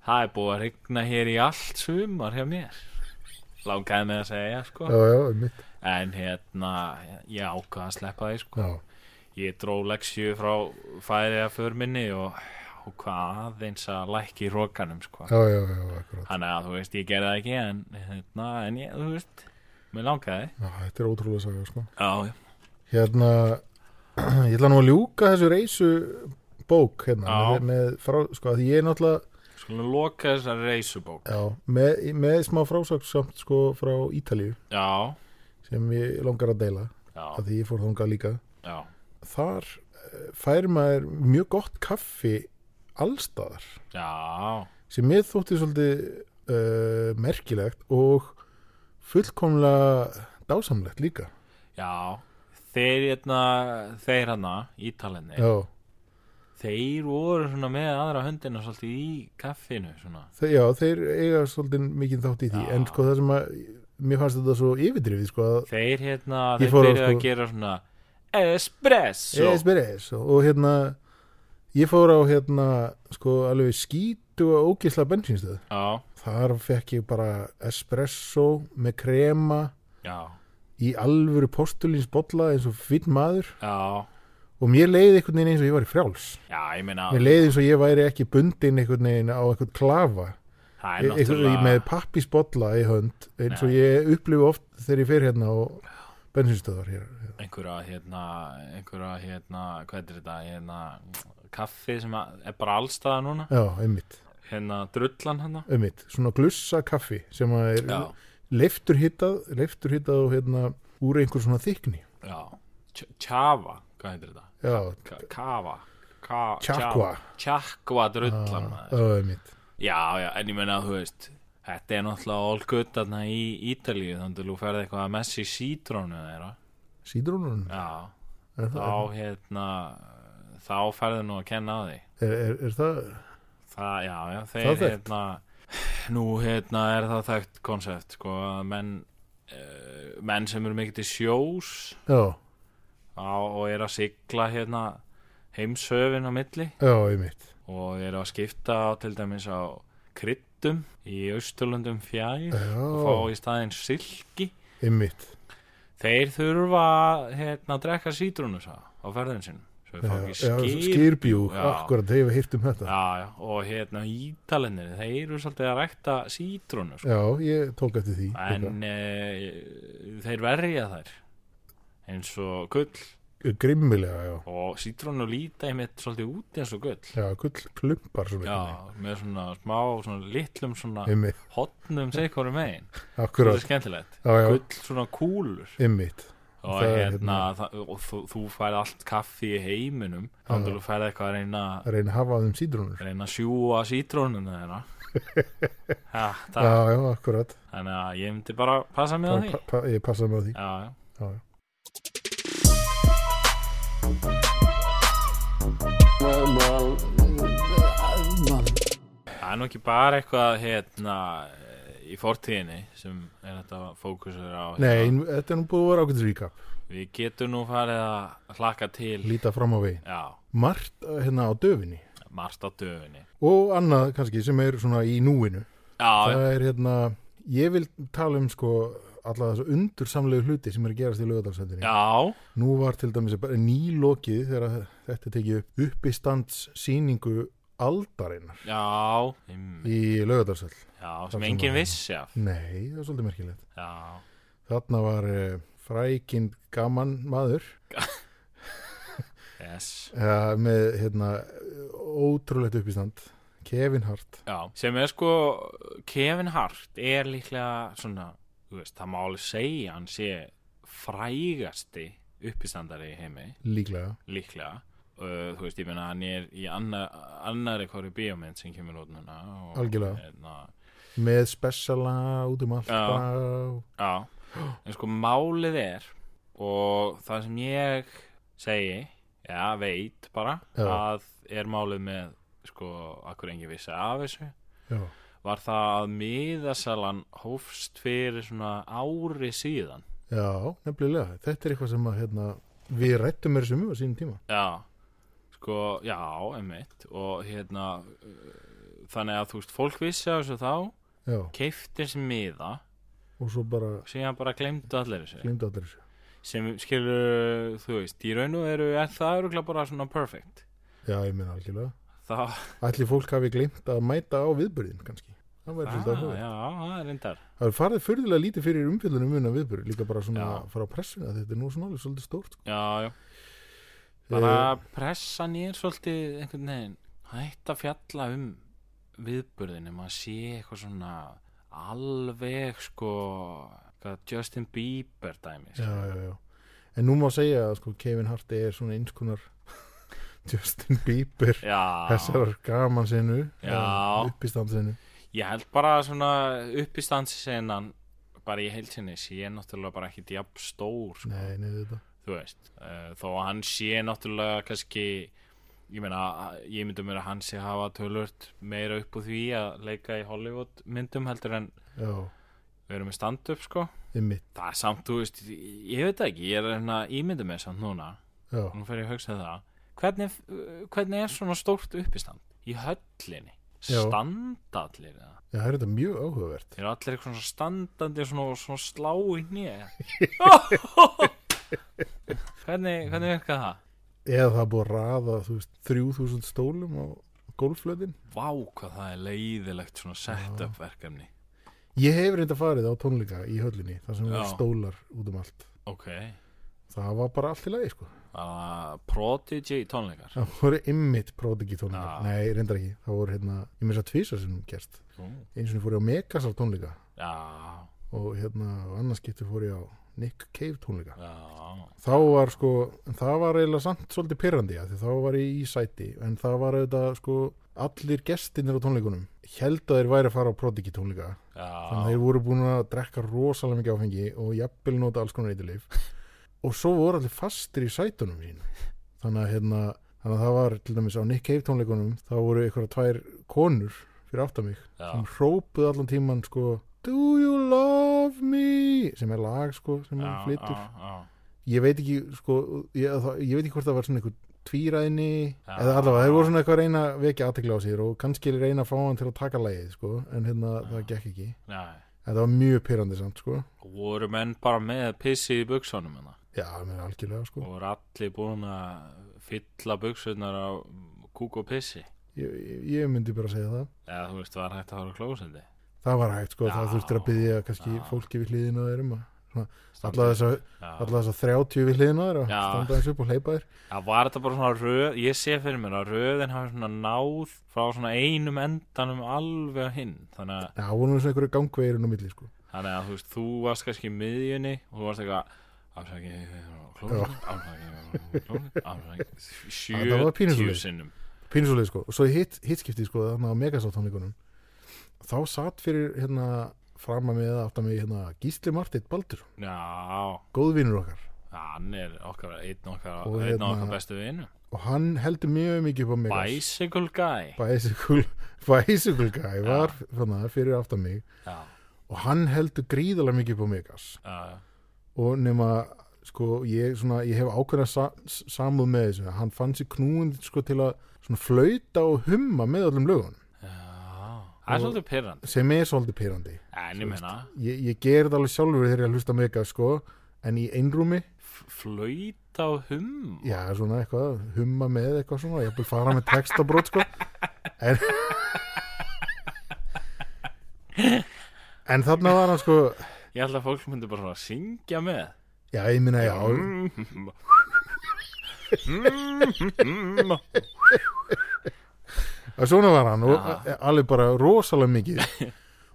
Speaker 1: það er búið að rigna hér í allt sumar hjá mér langaði með að segja sko
Speaker 5: Já, já, einmitt.
Speaker 1: en hérna ég ákvaða að sleppa því sko
Speaker 5: Já,
Speaker 1: ég dró leksju frá færiða förminni og, og hvað eins að lækki í rókanum sko.
Speaker 5: já, já, já, akkurat.
Speaker 1: þannig að þú veist ég gerði það ekki en, hérna, en ég, þú veist mér langaði
Speaker 5: Já, þetta er ótrúlega saga, sko.
Speaker 1: já,
Speaker 5: Hérna, ég ætla nú að ljúka þessu reysu bók, hérna,
Speaker 1: Já.
Speaker 5: með, með frá, sko, að ég er náttúrulega,
Speaker 1: skulum loka þessar reysubók
Speaker 5: já, með, með smá frásakssamt, sko, frá Ítalíu,
Speaker 1: já,
Speaker 5: sem ég langar að deila,
Speaker 1: já,
Speaker 5: að því ég fór þangað líka.
Speaker 1: já,
Speaker 5: Þar eh, fær maður mjög gott kaffi allstaðar,
Speaker 1: já
Speaker 5: sem ég þótti svolítið uh, merkilegt og fullkomlega dásamlegt líka
Speaker 1: Já, þeir hérna, þeir hérna, ítalenni,
Speaker 5: já,
Speaker 1: þeir voru svona með aðra höndina svolítið í kaffinu, svona.
Speaker 5: þeir, já, þeir eiga svolítið mikið þátt í því
Speaker 1: Já.
Speaker 5: en sko það sem að mér fannst þetta svo yfirdrifið sko að
Speaker 1: Þeir hérna,
Speaker 5: Ég
Speaker 1: þeir
Speaker 5: fór á,
Speaker 1: byrjuðu að
Speaker 5: sko-
Speaker 1: gera svona espresso.
Speaker 5: Ég spyrir þess og hérna ég fór á hérna sko alveg skítu og ógisla bensinstöð
Speaker 1: Já,
Speaker 5: þar fekk ég bara espresso með krema
Speaker 1: já,
Speaker 5: í alvöru postulínsbolla eins og finn maður
Speaker 1: já,
Speaker 5: og mér leiði einhvern veginn eins og ég var í frjáls
Speaker 1: já, ég meina,
Speaker 5: mér leiði eins og ég væri ekki bundin einhvern veginn á einhvern klafa
Speaker 1: það er
Speaker 5: einhvern veginn með
Speaker 1: náttúrulega,
Speaker 5: pappisbolla í hönd eins og
Speaker 1: Nei.
Speaker 5: ég upplifu oft þegar ég fer hérna á bensinstöðar hér
Speaker 1: einhverja, hérna, einhverja, hérna, hvað er þetta, hérna, kaffi sem að- er bara allstaða núna,
Speaker 5: já, einmitt,
Speaker 1: hérna, drullan hérna.
Speaker 5: einmitt, svona glussa kaffi sem að er
Speaker 1: Já,
Speaker 5: leiftur hittað, leiftur hittað og hérna úr einhver svona þykni
Speaker 1: já, Ch- Chava, hvað heitir þetta?
Speaker 5: já,
Speaker 1: Ka- Kafa Ka-
Speaker 5: Chakwa.
Speaker 1: Chava. Chakwa drullan
Speaker 5: já,
Speaker 1: maður.
Speaker 5: einmitt
Speaker 1: Já, já, en ég meina þú veist Þetta er náttúrulega all good þarna í Ítalíu þannig að þú ferði eitthvað að messi sítrónu þeirra
Speaker 5: sídrónun
Speaker 1: Já,
Speaker 5: er,
Speaker 1: þá
Speaker 5: það-
Speaker 1: hérna þá ferði nú að kenna á því
Speaker 5: er, er, er það
Speaker 1: Það, já, já,
Speaker 5: Það er
Speaker 1: þeir
Speaker 5: þekkt.
Speaker 1: hérna Nú, hérna, er það þekkt konsept sko, að menn uh, menn sem eru mikið til sjós
Speaker 5: já,
Speaker 1: á, og eru að sigla hérna heimsöfin á milli
Speaker 5: já, einmitt
Speaker 1: og eru að skipta á, til dæmis á kryddum í austurlöndum fjær og fá
Speaker 5: já,
Speaker 1: í staðinn silki
Speaker 5: einmitt
Speaker 1: þeir þurfa hérna, að drekka sítrúnus á ferðin sinn svo við fá ekki skýr,
Speaker 5: skýrbjú,
Speaker 1: Já.
Speaker 5: akkurat þegar við hýrtum þetta
Speaker 1: Já, já, og hérna ítalennir þeir eru svolítið að rækta sítrúnus sko.
Speaker 5: já, ég tók eftir því
Speaker 1: en e, þeir verja þær eins og gull
Speaker 5: líka. grimmilega, já
Speaker 1: og sítrúnu líta einmitt svolítið út eins og gull
Speaker 5: já, gull klumpar sem
Speaker 1: já, með svona smá svona litlum svona
Speaker 5: einmitt,
Speaker 1: hotnum segkóru megin þetta er
Speaker 5: akkurat,
Speaker 1: skemmtilegt
Speaker 5: já, já,
Speaker 1: gull svona kúlur
Speaker 5: einmitt
Speaker 1: og,
Speaker 5: Það er
Speaker 1: hérna,
Speaker 5: hérna-
Speaker 1: það, og þú, þú færð allt kaffi í heiminum þá
Speaker 5: Já.
Speaker 1: þú færð eitthvað að reyna
Speaker 5: að reyna að hafa af þeim sídrónur
Speaker 1: reyna að sjúa sítrónuna þeirra ha,
Speaker 5: já,
Speaker 1: það,
Speaker 5: já, akkurat
Speaker 1: þannig að ég myndi bara passa mig á
Speaker 5: Bara
Speaker 1: því
Speaker 5: pa, pa, ég passa með því
Speaker 1: já, já.
Speaker 3: Well, well, uh, um,
Speaker 1: það er nú ekki bara eitthvað hérna, í fortíðinni sem er þetta fókusur á hérna.
Speaker 5: nei, þetta er nú búið að vera ákveðs recap
Speaker 1: við getum nú farið að hlaka til
Speaker 5: líta fram á veginn
Speaker 1: já,
Speaker 5: margt uh, hérna á döfinni
Speaker 1: margt á döfinni
Speaker 5: og annað kannski sem er svona í núinu
Speaker 1: já,
Speaker 5: það er hérna ég vil tala um sko alla þessu undursamlegu hluti sem er að gerast í lögadalsendinni
Speaker 1: já,
Speaker 5: Nú var til dæmis bara nýlokið þegar þetta tekið upp uppistandssýningu aldarinnar
Speaker 1: já, mm,
Speaker 5: í lögadarsöll.
Speaker 1: já
Speaker 5: sem
Speaker 1: sem enginn
Speaker 5: að-
Speaker 1: vissi af
Speaker 5: Nei, það er svolítið merkilegt.
Speaker 1: já,
Speaker 5: Þarna var uh, frækin gaman maður
Speaker 1: yes
Speaker 5: uh, með hérna, ótrúlegt uppistand, Kevin Hart.
Speaker 1: Já, sem er sko Kevin Hart er líklega svona, þú veist, það má alveg segja hann sé frægasti uppistandari í heimi
Speaker 5: Líklega,
Speaker 1: líklega uh, þú veist, ég meina hann er í annar, annari hverju bíómynd sem kemur út núna og,
Speaker 5: Algjörlega.
Speaker 1: hérna,
Speaker 5: með spesiala út um allt.
Speaker 1: Já.
Speaker 5: bara.
Speaker 1: Já, en sko málið er og það sem ég segi, já, veit bara,
Speaker 5: Já.
Speaker 1: að er málið með, sko, akkur engi vissi af þessu
Speaker 5: Já,
Speaker 1: var það að miðasalan hófst fyrir svona ári síðan
Speaker 5: já, nefnilega. Þetta er eitthvað sem að, hérna, við rættum mér sem um á sínum tíma.
Speaker 1: já, sko, já, emitt og hérna uh, þannig að þú veist, fólk vissi á þessu þá
Speaker 5: Já,
Speaker 1: keifti þessi miða
Speaker 5: og svo bara
Speaker 1: síðan bara glemdu allir þessu
Speaker 5: glimta allir þessu.
Speaker 1: sem skilur, þú veist, í raun og veru er það öruglega bara svona perfect
Speaker 5: Já, ég meina algjörlega.
Speaker 1: þá,
Speaker 5: Ætli fólk hafi glemt að mæta á viðbyrðin kannski. Það væri
Speaker 1: ah,
Speaker 5: svolítið að
Speaker 1: já, það er reyndar
Speaker 5: Það er farið fyrðulega lítið fyrir umfjöldunum mun að viðbyrð, líka bara svona
Speaker 1: Já.
Speaker 5: frá pressuna, þetta er nú svona alveg svolítið stórt. sko.
Speaker 1: já, já, bara pressan er svolítið einhvern veginn hætt að fjalla um viðburðinu, maður sé eitthvað svona alveg sko hvað Justin Bieber dæmi
Speaker 5: Eh, Já,
Speaker 1: sko.
Speaker 5: já, já. En nú má segja að sko Kevin Hart er svona einskonar Justin Bieber
Speaker 1: já,
Speaker 5: þessarar gaman sinu,
Speaker 1: Já.
Speaker 5: uppistand sinu.
Speaker 1: ég held bara að svona uppistansisennan bara í heilsinni sé náttúrulega bara ekki jafn stór sko,
Speaker 5: Nei, neðu þetta
Speaker 1: þú veist Eh, þó að hann sé náttúrulega kannski ég meina, ég myndi mér að hann sé hafa tölvört meira upp úr því að leika í Hollywood myndum heldur en
Speaker 5: Já,
Speaker 1: við erum með stand-up sko
Speaker 5: ymmit,
Speaker 1: það er samt, þú veist, ég veit það ekki ég er hérna ímynda mér samt núna
Speaker 5: já,
Speaker 1: nú fer ég að hugsa um það hvernig, hvernig er svona stórt uppistand í höllinni
Speaker 5: Já.
Speaker 1: standa allir eða?
Speaker 5: já, það er þetta mjög áhugavert
Speaker 1: Þeir eru allir eitthvað svona standandi og svona, og svona slá í nýja Hvernig, hvernig virka það?
Speaker 5: Eða það er búið að raða, þú veist, 3000 stólum á golfflöðin
Speaker 1: Vá hvað það er leiðilegt svona setup verkefni
Speaker 5: Ég hef reynda farið á tónleika í höllinni þar sem það
Speaker 1: Já.
Speaker 5: stólar út um allt
Speaker 1: Ok,
Speaker 5: Það var bara allt í lagi, sko
Speaker 1: uh, Prodigy tónleikar
Speaker 5: Það voru ymmit pródiki tónleika
Speaker 1: Já.
Speaker 5: Nei, reyndar ekki, það voru hérna Ég með þess að tvísa sem gerst
Speaker 1: Ú,
Speaker 5: Eins og fór ég á Megasar tónleika
Speaker 1: Já,
Speaker 5: og hérna, og annars getur fór ég á Nick Cave tónleika
Speaker 1: já,
Speaker 5: þá var sko, en það var eiginlega samt svolítið pyrrandi að því þá var ég í sæti en það var auðvitað sko allir gestinir á tónleikunum held að þeir væri að fara á Prodigy tónleika þannig að
Speaker 1: já
Speaker 5: þeir voru búin að drekka rosalega mikið áfengi og jafnvel nota alls konar eitthilif og svo voru allir fastir í sætunum sín þannig að hérna þannig að það var til dæmis á Nick Cave tónleikunum þá voru einhverja tvær konur fyrir aftan mig
Speaker 1: Já,
Speaker 5: sem hrópuð allan tíman sko Do you love me sem er lag sko sem hún
Speaker 1: já,
Speaker 5: flytur
Speaker 1: já, já.
Speaker 5: ég veit ekki sko, ég, það, ég veit ekki hvort það var svona einhver tvíræðni
Speaker 1: Já.
Speaker 5: eða allavega, þeir voru svona eitthvað að reyna að vekja aðtekla á sér og kannski reyna að fá hann til að taka lagið sko, en hérna það gekk ekki en
Speaker 1: Nei.
Speaker 5: það var mjög pyrrandi samt sko
Speaker 1: Voru menn bara með pissi í buksonum hana
Speaker 5: já, mér algjörlega sko
Speaker 1: og voru allir búin að fylla buksunar á kúk og pissi
Speaker 5: ég, ég- ég myndi bara segja það
Speaker 1: eða þú veist, var hægt að fara á klósendi
Speaker 5: það var hægt sko,
Speaker 1: Já.
Speaker 5: það þurftir að byggja kannski
Speaker 1: Já.
Speaker 5: fólki við hliðina á þeir um að svona, alla þess að
Speaker 1: Já.
Speaker 5: alla þess að 30 við hliðina á þeir að
Speaker 1: Já.
Speaker 5: standa þessu upp og hleypa þér
Speaker 1: Það var þetta bara svona röð, ég sé fyrir mér að röðin hafi svona náð frá svona einum endanum alveg á hinn þannig að,
Speaker 5: já, voru nú svona einhverju gangvegirinn á milli sko
Speaker 1: þannig að þú veist, þú varst kannski í miðjunni og þú varst eitthvað afsaki, klósi, afsaki, klósi, afsaki
Speaker 5: Þetta var pínu
Speaker 1: 70
Speaker 5: svoleiðis.
Speaker 1: sinnum
Speaker 5: pínusuleg sko og svo í hitt, hitt skiptið sko þannig á megasáttónleikunum þá satt fyrir hérna fram að mig eða aftan mig hérna Gísli Martit Baldur,
Speaker 1: Já,
Speaker 5: góðvinur okkar
Speaker 1: hann er okkar, einn okkar,
Speaker 5: Og
Speaker 1: einn
Speaker 5: hérna-
Speaker 1: af okkar bestu vinum
Speaker 5: og hann heldur mjög mikið upp á megas
Speaker 1: Bicycle guy
Speaker 5: Bicycle, bicycle guy var þannig fyrir aftan mig
Speaker 1: Já,
Speaker 5: og hann heldur gríðalega mikið upp á megas
Speaker 1: já,
Speaker 5: og nema sko ég, svona, ég hef ákveðna sa samúð með þessu hann fann sér knúin sko til að svona flauta og humma með öllum lögun
Speaker 1: já Það er svolítið pyrrand
Speaker 5: sem er svolítið pyrrandi
Speaker 1: En ég meina,
Speaker 5: ég, ég ger þetta alveg sjálfur þegar ég hlusta mega sko, en í einrúmi
Speaker 1: f- flauta og hum
Speaker 5: já, svona eitthvað, humma með eitthvað svona, ég vil fara með textabrót sko en en þarna var hann sko
Speaker 1: Ég ætla að fólk myndi bara svona syngja með
Speaker 5: já, ég minna, já, að svona var hann og e,
Speaker 1: Já.
Speaker 5: alveg bara rosalega mikið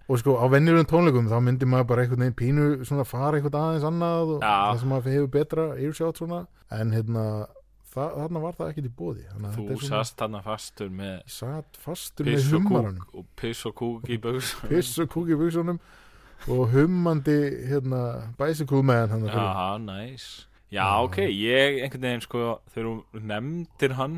Speaker 5: og sko á venjulegum tónleikum þá myndi maður bara einhvern veginn pínu svona fara einhvern aðeins annað og
Speaker 1: Já.
Speaker 5: það sem maður hefur betra yfirsjátt svona, en hérna það, þarna var það ekkert í bóði
Speaker 1: Þú sast hann fastur með
Speaker 5: satt fastur með
Speaker 1: piss og
Speaker 5: hummaranum
Speaker 1: kúk og piss og kúk í bauksum
Speaker 5: piss og kúk í buksunum og hummandi hérna bæsikúmaðan hann fyrir.
Speaker 1: Já, næs Já, ok, ég einhvern veginn sko þegar þú nefndir hann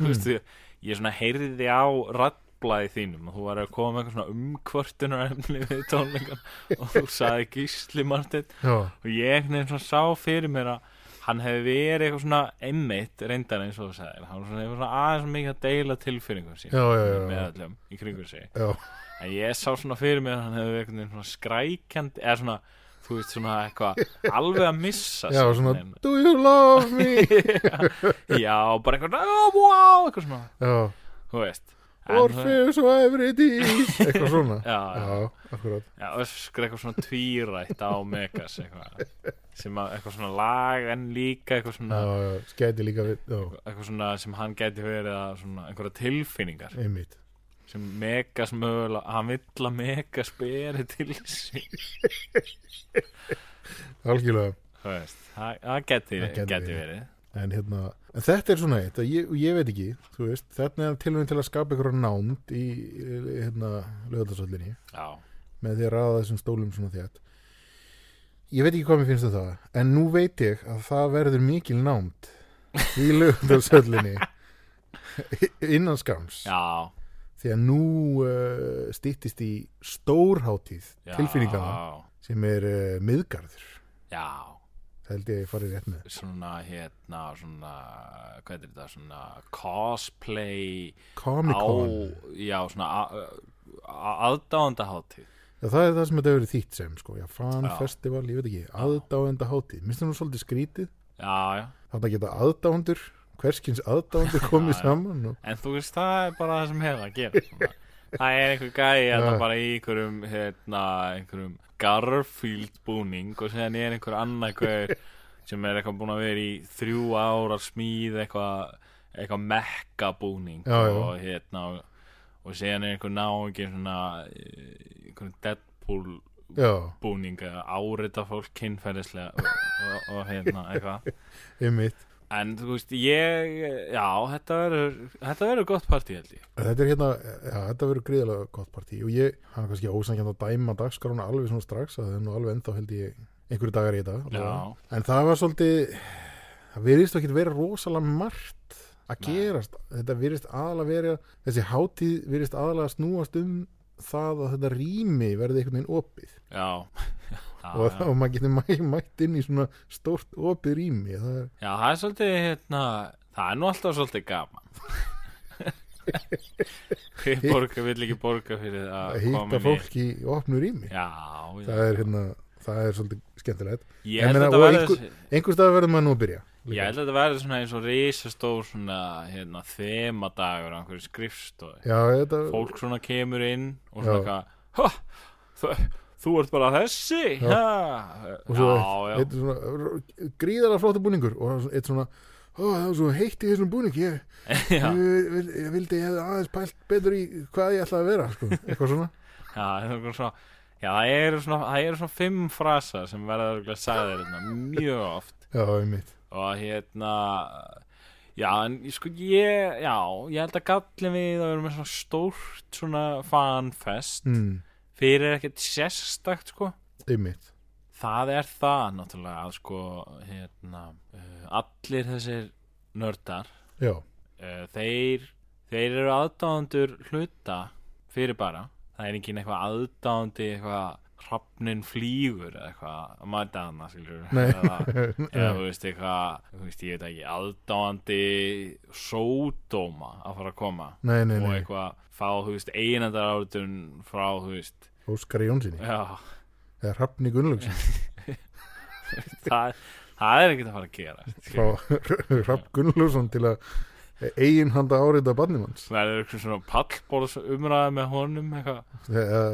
Speaker 1: þú veist, ég, ég svona heyrði á rattblæði þínum og þú var að koma með eitthvað svona umkvörtunar efni við tónleikan og þú saði gísli Martin
Speaker 5: Já,
Speaker 1: og ég einhvern veginn svona sá fyrir mér að hann hefði verið eitthvað svona einmitt reyndar eins og þú sagðir hann var svona, hefur svona aðeins mikið að deila tilfinningum sín
Speaker 5: Já, já, já, já.
Speaker 1: með öllum í kringum sig
Speaker 5: já,
Speaker 1: en ég sá svona fyrir mér að hann hefði verið einhvern veginn svona skrækjandi eða svona, þú veist svona eitthvað alveg að missa
Speaker 5: já,
Speaker 1: sig
Speaker 5: svona
Speaker 1: einhvern
Speaker 5: do you love me
Speaker 1: veginn. já, bara eitthvað, oh, wow, eitthvað svona
Speaker 5: já,
Speaker 1: þú veist En þú-
Speaker 5: Orpheus og Everydís eitthvað svona
Speaker 1: Já, já.
Speaker 5: já, akkurat
Speaker 1: já, öskra eitthvað svona tvírætt á Megas eitthvað sem að eitthvað svona lag en líka eitthvað svona
Speaker 5: já, já, skæti líka við, já,
Speaker 1: eitthvað svona sem hann gæti verið að svona einhverja tilfinningar
Speaker 5: einmitt
Speaker 1: sem megas mögulega, hann vill að megas beri til sín
Speaker 5: algjörlega,
Speaker 1: Þú veist, það það gæti,
Speaker 5: Það gæti
Speaker 1: gæti
Speaker 5: verið.
Speaker 1: verið
Speaker 5: en, hérna, en þetta er svona eitt að ég, ég veit ekki, þú veist þetta er tilvæm til að skapa ykkur nánd í hérna, lögðarsöllinni
Speaker 1: já,
Speaker 5: með því að ráða þessum stólum svona þétt ég veit ekki hvað mér finnst um það en nú veit ég að það verður mikil námt í lögðarsöllinni innan skams
Speaker 1: já,
Speaker 5: því að nú uh, stýttist í stórhátíð
Speaker 1: já
Speaker 5: tilfinningana sem er uh, miðgarður
Speaker 1: já,
Speaker 5: það held ég að ég farið rétt með
Speaker 1: svona hérna svona, hvað er þetta, svona cosplay á,
Speaker 5: Comic-Con,
Speaker 1: já, svona aðdáðandahátíð
Speaker 5: Já, það er það sem þetta hefur verið þýtt sem sko, já, fan
Speaker 1: Já.
Speaker 5: festival, ég veit ekki aðdáenda hátíð, minnst það nú svolítið skrítið
Speaker 1: já, já,
Speaker 5: þannig að geta aðdáendur hverskins aðdáendur komið saman og,
Speaker 1: en þú veist það er bara það sem hefur að gera svona. það er einhver gæi hérna bara í einhverjum hérna, einhverjum Garfield búning og séðan er einhver annar hver sem er eitthvað búin að vera í þrjú ára smíð eitthvað eitthvað mekka búning
Speaker 5: Já, já.
Speaker 1: og hérna og- og séðan er einhver náungin svona eh, einhverjum Deadpool
Speaker 5: já,
Speaker 1: búning að árita fólk kynferðislega og, og, og hérna eitthvað
Speaker 5: einmitt
Speaker 1: en þú veist ég já þetta verður þetta verður gott partí held ég
Speaker 5: þetta er hérna, já, þetta verður gríðalega gott partí og ég, hann er kannski ósangjönd að dæma dagskrána alveg svona strax, að það er nú alveg ennþá held ég einhverju dagar í þetta allavega.
Speaker 1: já
Speaker 5: en það var svolítið það virðist ekki vera rosalega margt að
Speaker 1: Nei.
Speaker 5: gerast, þetta virðist aðalega vera þessi hátíð virðist aðalega snúast um það að þetta rými verði einhvern veginn opið
Speaker 1: já já,
Speaker 5: og,
Speaker 1: já.
Speaker 5: og maður getur mæ, mætt inn í svona stórt opið rými það er,
Speaker 1: já það er svolítið hérna það er nú alltaf svolítið gaman hver borga vill ekki borga fyrir
Speaker 5: að
Speaker 1: að koma
Speaker 5: hýta
Speaker 1: inn í-
Speaker 5: fólk í opnu rými
Speaker 1: já, já.
Speaker 5: það er hérna, það er svolítið skemmtilegt
Speaker 1: ég held að
Speaker 5: meina,
Speaker 1: þetta
Speaker 5: og
Speaker 1: verður
Speaker 5: einhver- einhver stað verður maður nú að byrja
Speaker 1: ég held að þetta verður svona eins og risastór svona hérna þemadagur á einhverju skrifstofi
Speaker 5: já, þetta,
Speaker 1: fólk svona kemur inn og
Speaker 5: Já.
Speaker 1: svona eitthvað "Ha, þú- þú ert bara þessi
Speaker 5: Já.
Speaker 1: ha."
Speaker 5: og svo
Speaker 1: já,
Speaker 5: eitt, eitt svona gríðalega flóta búningur og eitt svona Ó, það var svo heitt í þessum búning ég,
Speaker 1: já, já,
Speaker 5: ég, vil, ég vildi ég hefði aðeins pælt betur í hvað ég ætlaði að vera sko. eitthvað svona
Speaker 1: já, það er eitthvað svona- já, það eru svona, það eru svona fimm frasa sem verða örugglega sagðir hérna, mjög oft
Speaker 5: já, einmitt
Speaker 1: og hérna já, en sko ég já, ég held að gallin við að vera með svona stórt svona fanfest
Speaker 5: mm,
Speaker 1: fyrir ekkert sérstakt sko
Speaker 5: einmitt
Speaker 1: það er það náttúrulega að sko hérna, uh, allir þessir nördar
Speaker 5: já,
Speaker 1: uh, þeir, þeir eru aðdáðandur hluta fyrir bara það er engin eitthvað aðdáðandi eitthvað hrafnin flýgur eða eitthvað að mæta hana skilur
Speaker 5: nei
Speaker 1: eða, eða
Speaker 5: já,
Speaker 1: þú veist eitthvað þú veist, ég veit ekki, aðdáðandi sódóma að fara að koma
Speaker 5: nei, nei,
Speaker 1: og
Speaker 5: nei,
Speaker 1: eitthvað fá, þú veist, einandar átun frá, þú veist,
Speaker 5: Óskari Jónsinni
Speaker 1: já
Speaker 5: eða Hrafni Gunnlaugsson
Speaker 1: það, það er ekkert að fara að gera skilur.
Speaker 5: frá Hrafn Gunnlaugsson til að eigin handa árita bannimanns
Speaker 1: það er eitthvað svona pallbóls umræði með honum eitthvað
Speaker 5: eða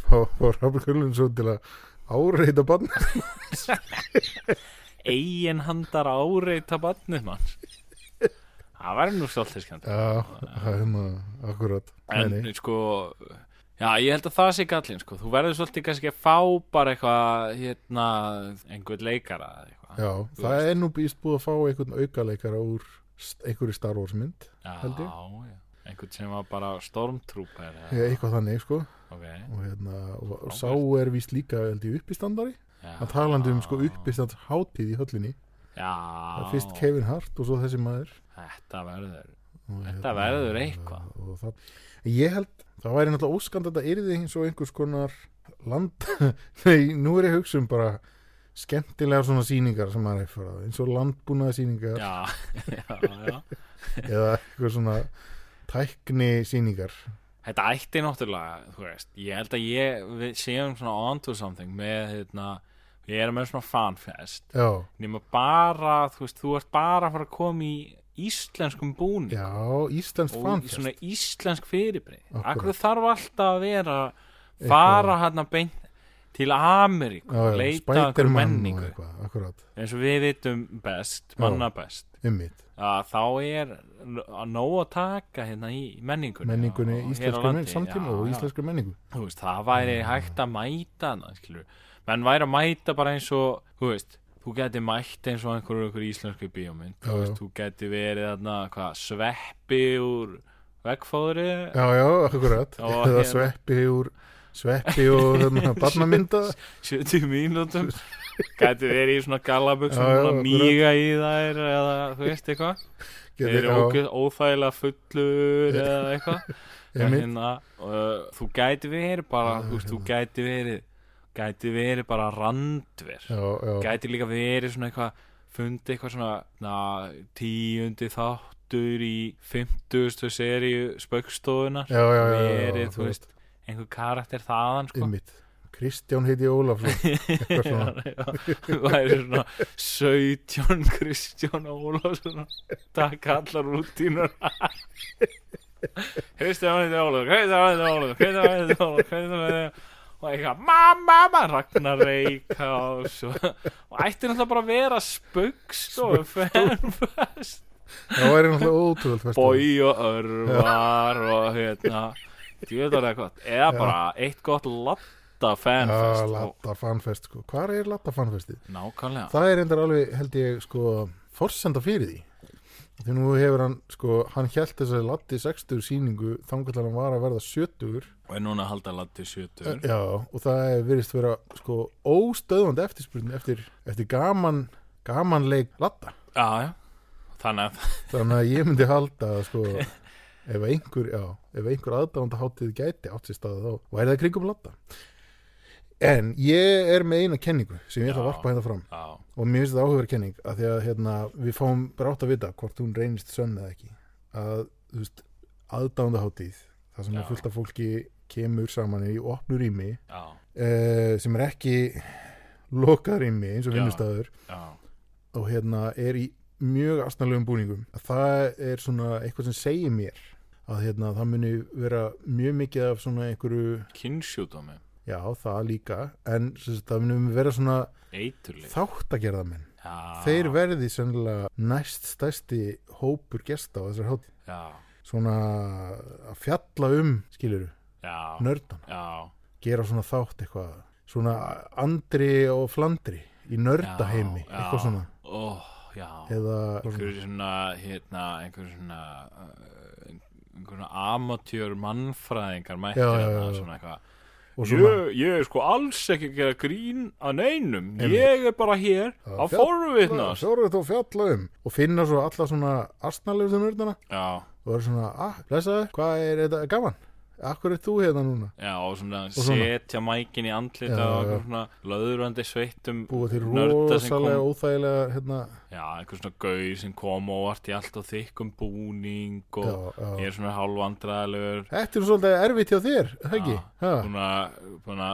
Speaker 5: frá Hrafn Gunnlaugsson til að árita bannimanns
Speaker 1: eigin handar áreita barnið manns það verður nú stoltið skjönd
Speaker 5: já, það er hérna akkurat
Speaker 1: en sko já ég held að það sé gallin sko þú verður svolítið kannski að fá bara eitthvað hérna einhvern leikara eða eitthvað
Speaker 5: Já,
Speaker 1: Þú
Speaker 5: það
Speaker 1: veist.
Speaker 5: er nú býst búið að fá einhvern aukaleikara úr st- einhverju Star Wars mynd held ég.
Speaker 1: já, já. einhvern sem var bara stormtrooper eða-
Speaker 5: eða eitthvað þannig sko
Speaker 1: ok
Speaker 5: og, hérna, og, og
Speaker 1: Frábært.
Speaker 5: sá er víst líka held ég uppistandari
Speaker 1: já,
Speaker 5: að talandi um sko uppistands hátíð í höllinni það
Speaker 1: já
Speaker 5: er fyrst Kevin Hart og svo þessi maður
Speaker 1: þetta verður
Speaker 5: og, hérna,
Speaker 1: þetta verður eitthvað
Speaker 5: og það, ég held, það væri náttúrulega óskand að þetta yrði eins og einhvers konar land, nei, nú er ég að hugsa um bara skemmtilegar svona sýningar sem maður er fyrir það, eins og landbúnaða sýningar
Speaker 1: já, já, já
Speaker 5: eða eitthvað svona tækni sýningar
Speaker 1: Þetta ætti náttúrulega, þú veist, ég held að ég, við séum svona onto something með, hérna, ég er með svona fanfest,
Speaker 5: já,
Speaker 1: nema bara, þú veist, þú ert bara að fara að koma í íslenskum búning
Speaker 5: Já, Íslands
Speaker 1: og í
Speaker 5: fanfest
Speaker 1: svona íslensk fyrirbreyð.
Speaker 5: Akkúrat.
Speaker 1: Akkur þarf alltaf að vera, fara hérna beint til Ameríku,
Speaker 5: Já, já,
Speaker 1: leita að einhver
Speaker 5: Spiderman og
Speaker 1: menningu,
Speaker 5: eitthvað, akkurat,
Speaker 1: eins og við vitum best, manna best,
Speaker 5: ymmit
Speaker 1: að þá er að nóg að taka hérna í menningunni.
Speaker 5: menningunni
Speaker 1: og- og hér á
Speaker 5: íslenskri menningu,
Speaker 1: landi.
Speaker 5: samtíma
Speaker 1: Já,
Speaker 5: og
Speaker 1: já.
Speaker 5: íslenskri menningu
Speaker 1: þú
Speaker 5: Mm.
Speaker 1: veist, það væri hægt að mæta hana, skilur menn væri að mæta bara eins og þú veist, þú gæti mætt eins og einhverjur einhver íslensku bíómynd
Speaker 5: Já,
Speaker 1: þú, veist,
Speaker 5: já.
Speaker 1: þú gæti verið þarna hvað, sveppi úr vegfóðri
Speaker 5: já, já, akkurat
Speaker 1: Já,
Speaker 5: eða
Speaker 1: hérna.
Speaker 5: sveppi úr sveppi og hérna barnamynda
Speaker 1: 70 mínútum gæti verið í svona gallabug
Speaker 5: Já, já,
Speaker 1: svona
Speaker 5: akkurat.
Speaker 1: mýga í þær eða þú veist eitthvað þeir eru ógeð- óþægilega fullur eða eitthvað En
Speaker 5: einmitt.
Speaker 1: hérna, uh, þú gæti verið bara þú, veist, þú gæti verið gæti verið bara randver
Speaker 5: já, já,
Speaker 1: gæti líka verið svona eitthvað fundi eitthvað svona na, tíundi þáttur í 50. seríu spaukstofunar
Speaker 5: já, já, já, já,
Speaker 1: verið,
Speaker 5: já,
Speaker 1: þú veist, einhver karakter þaðan sko.
Speaker 5: ymmit Kristján heiti Ólafsson eitthvað
Speaker 1: Já,
Speaker 5: svona
Speaker 1: já. það er svona 17 Kristján Ólafsson takk allar rútínur Kristján heiti Ólafsson Kristján heiti Ólafsson Kristján heiti Ólafsson Kristján heiti Ólafsson og eitthvað mamma, mamma, Ragnar Reykjás og, og ætti náttúrulega bara að vera spaukstofu fennfest
Speaker 5: það væri náttúrulega ótrúvöld
Speaker 1: Bói og Örvar og hérna djöðar eða gott eða bara eitt gott latta
Speaker 5: Já,
Speaker 1: fanfest og,
Speaker 5: Latta fanfest sko. Hvar er Latta fanfestið?
Speaker 1: nákvæmlega
Speaker 5: Það er reyndar alveg held ég sko forsenda fyrir því Því nú hefur hann sko, hann hjælt þess að Latti 60 sýningu þangar til hann var að verða 70
Speaker 1: og er núna að halda landi 70
Speaker 5: Já, og það er virðist vera sko óstöðvandi eftirspurning eftir, eftir gaman, gamanleik Latta
Speaker 1: já, já. þannig að
Speaker 5: Þannig að ég myndi halda að sko ef einhver, já, ef einhver aðdáðanda hátíð gæti átt sér staða þá væri það kringum Latta En ég er með eina kenningu sem ég ætla að
Speaker 1: Já.
Speaker 5: varpa hérna fram
Speaker 1: já,
Speaker 5: og mér finnst þetta áhugaverð kenning að því að hérna, við fáum brátt að vita hvort hún reynist sönn eða ekki að þú veist, aðdándahátíð það sem
Speaker 1: Já.
Speaker 5: er fullt af fólki kemur saman í opnu rými
Speaker 1: já,
Speaker 5: eh, sem er ekki lokað rými eins og
Speaker 1: Já.
Speaker 5: vinnustæður
Speaker 1: já,
Speaker 5: og hérna er í mjög astnalegum búningum að það er svona eitthvað sem segir mér að hérna, það muni vera mjög mikið af svona einhverju
Speaker 1: kynnsjúdómi
Speaker 5: já það líka en sem sagt, það muni vera svona
Speaker 1: eiturli
Speaker 5: þáttagerðamenn
Speaker 1: já,
Speaker 5: þeir verði sennilega næst stærsti hópur gesta á þessar hátíð
Speaker 1: já,
Speaker 5: svona að fjalla um skiluru,
Speaker 1: já,
Speaker 5: nördana
Speaker 1: já,
Speaker 5: gera svona þátt eitthvað svona andri og flandri í nördaheimi,
Speaker 1: Já, já.
Speaker 5: eitthvað svona
Speaker 1: ó, já
Speaker 5: eða
Speaker 1: einhverju svona hérna, einhverju svona uh, einhverju amatjör mannfræðingar mættir
Speaker 5: Já, já,
Speaker 1: þarna,
Speaker 5: já, já.
Speaker 1: svona eitthvað
Speaker 5: og svona,
Speaker 1: Ég, ég er sko alls ekki að gera grín að neinum,
Speaker 5: Einmitt.
Speaker 1: ég er bara hér að forvitna
Speaker 5: svo eru þetta að fjalla um og finna svo alla svona astnalegustu nördana
Speaker 1: Já,
Speaker 5: og vera svona, ah, blessaður, hvað er þetta gaman? Akkur er þú hérna núna?
Speaker 1: já, og svona
Speaker 5: svona.
Speaker 1: setja mækin í andlita og
Speaker 5: Já, já.
Speaker 1: einhver svona löðurandi sveittum
Speaker 5: Búa til
Speaker 1: nörda sem
Speaker 5: rosalega óþægilega hérna,
Speaker 1: já, einhver svona gau sem kom óvart í allt og þykkum búning og
Speaker 5: já, já.
Speaker 1: er svona hálfandræðilegur
Speaker 5: Þetta er svolítið erfitt hjá þér, það ekki? Ha.
Speaker 1: búna, búna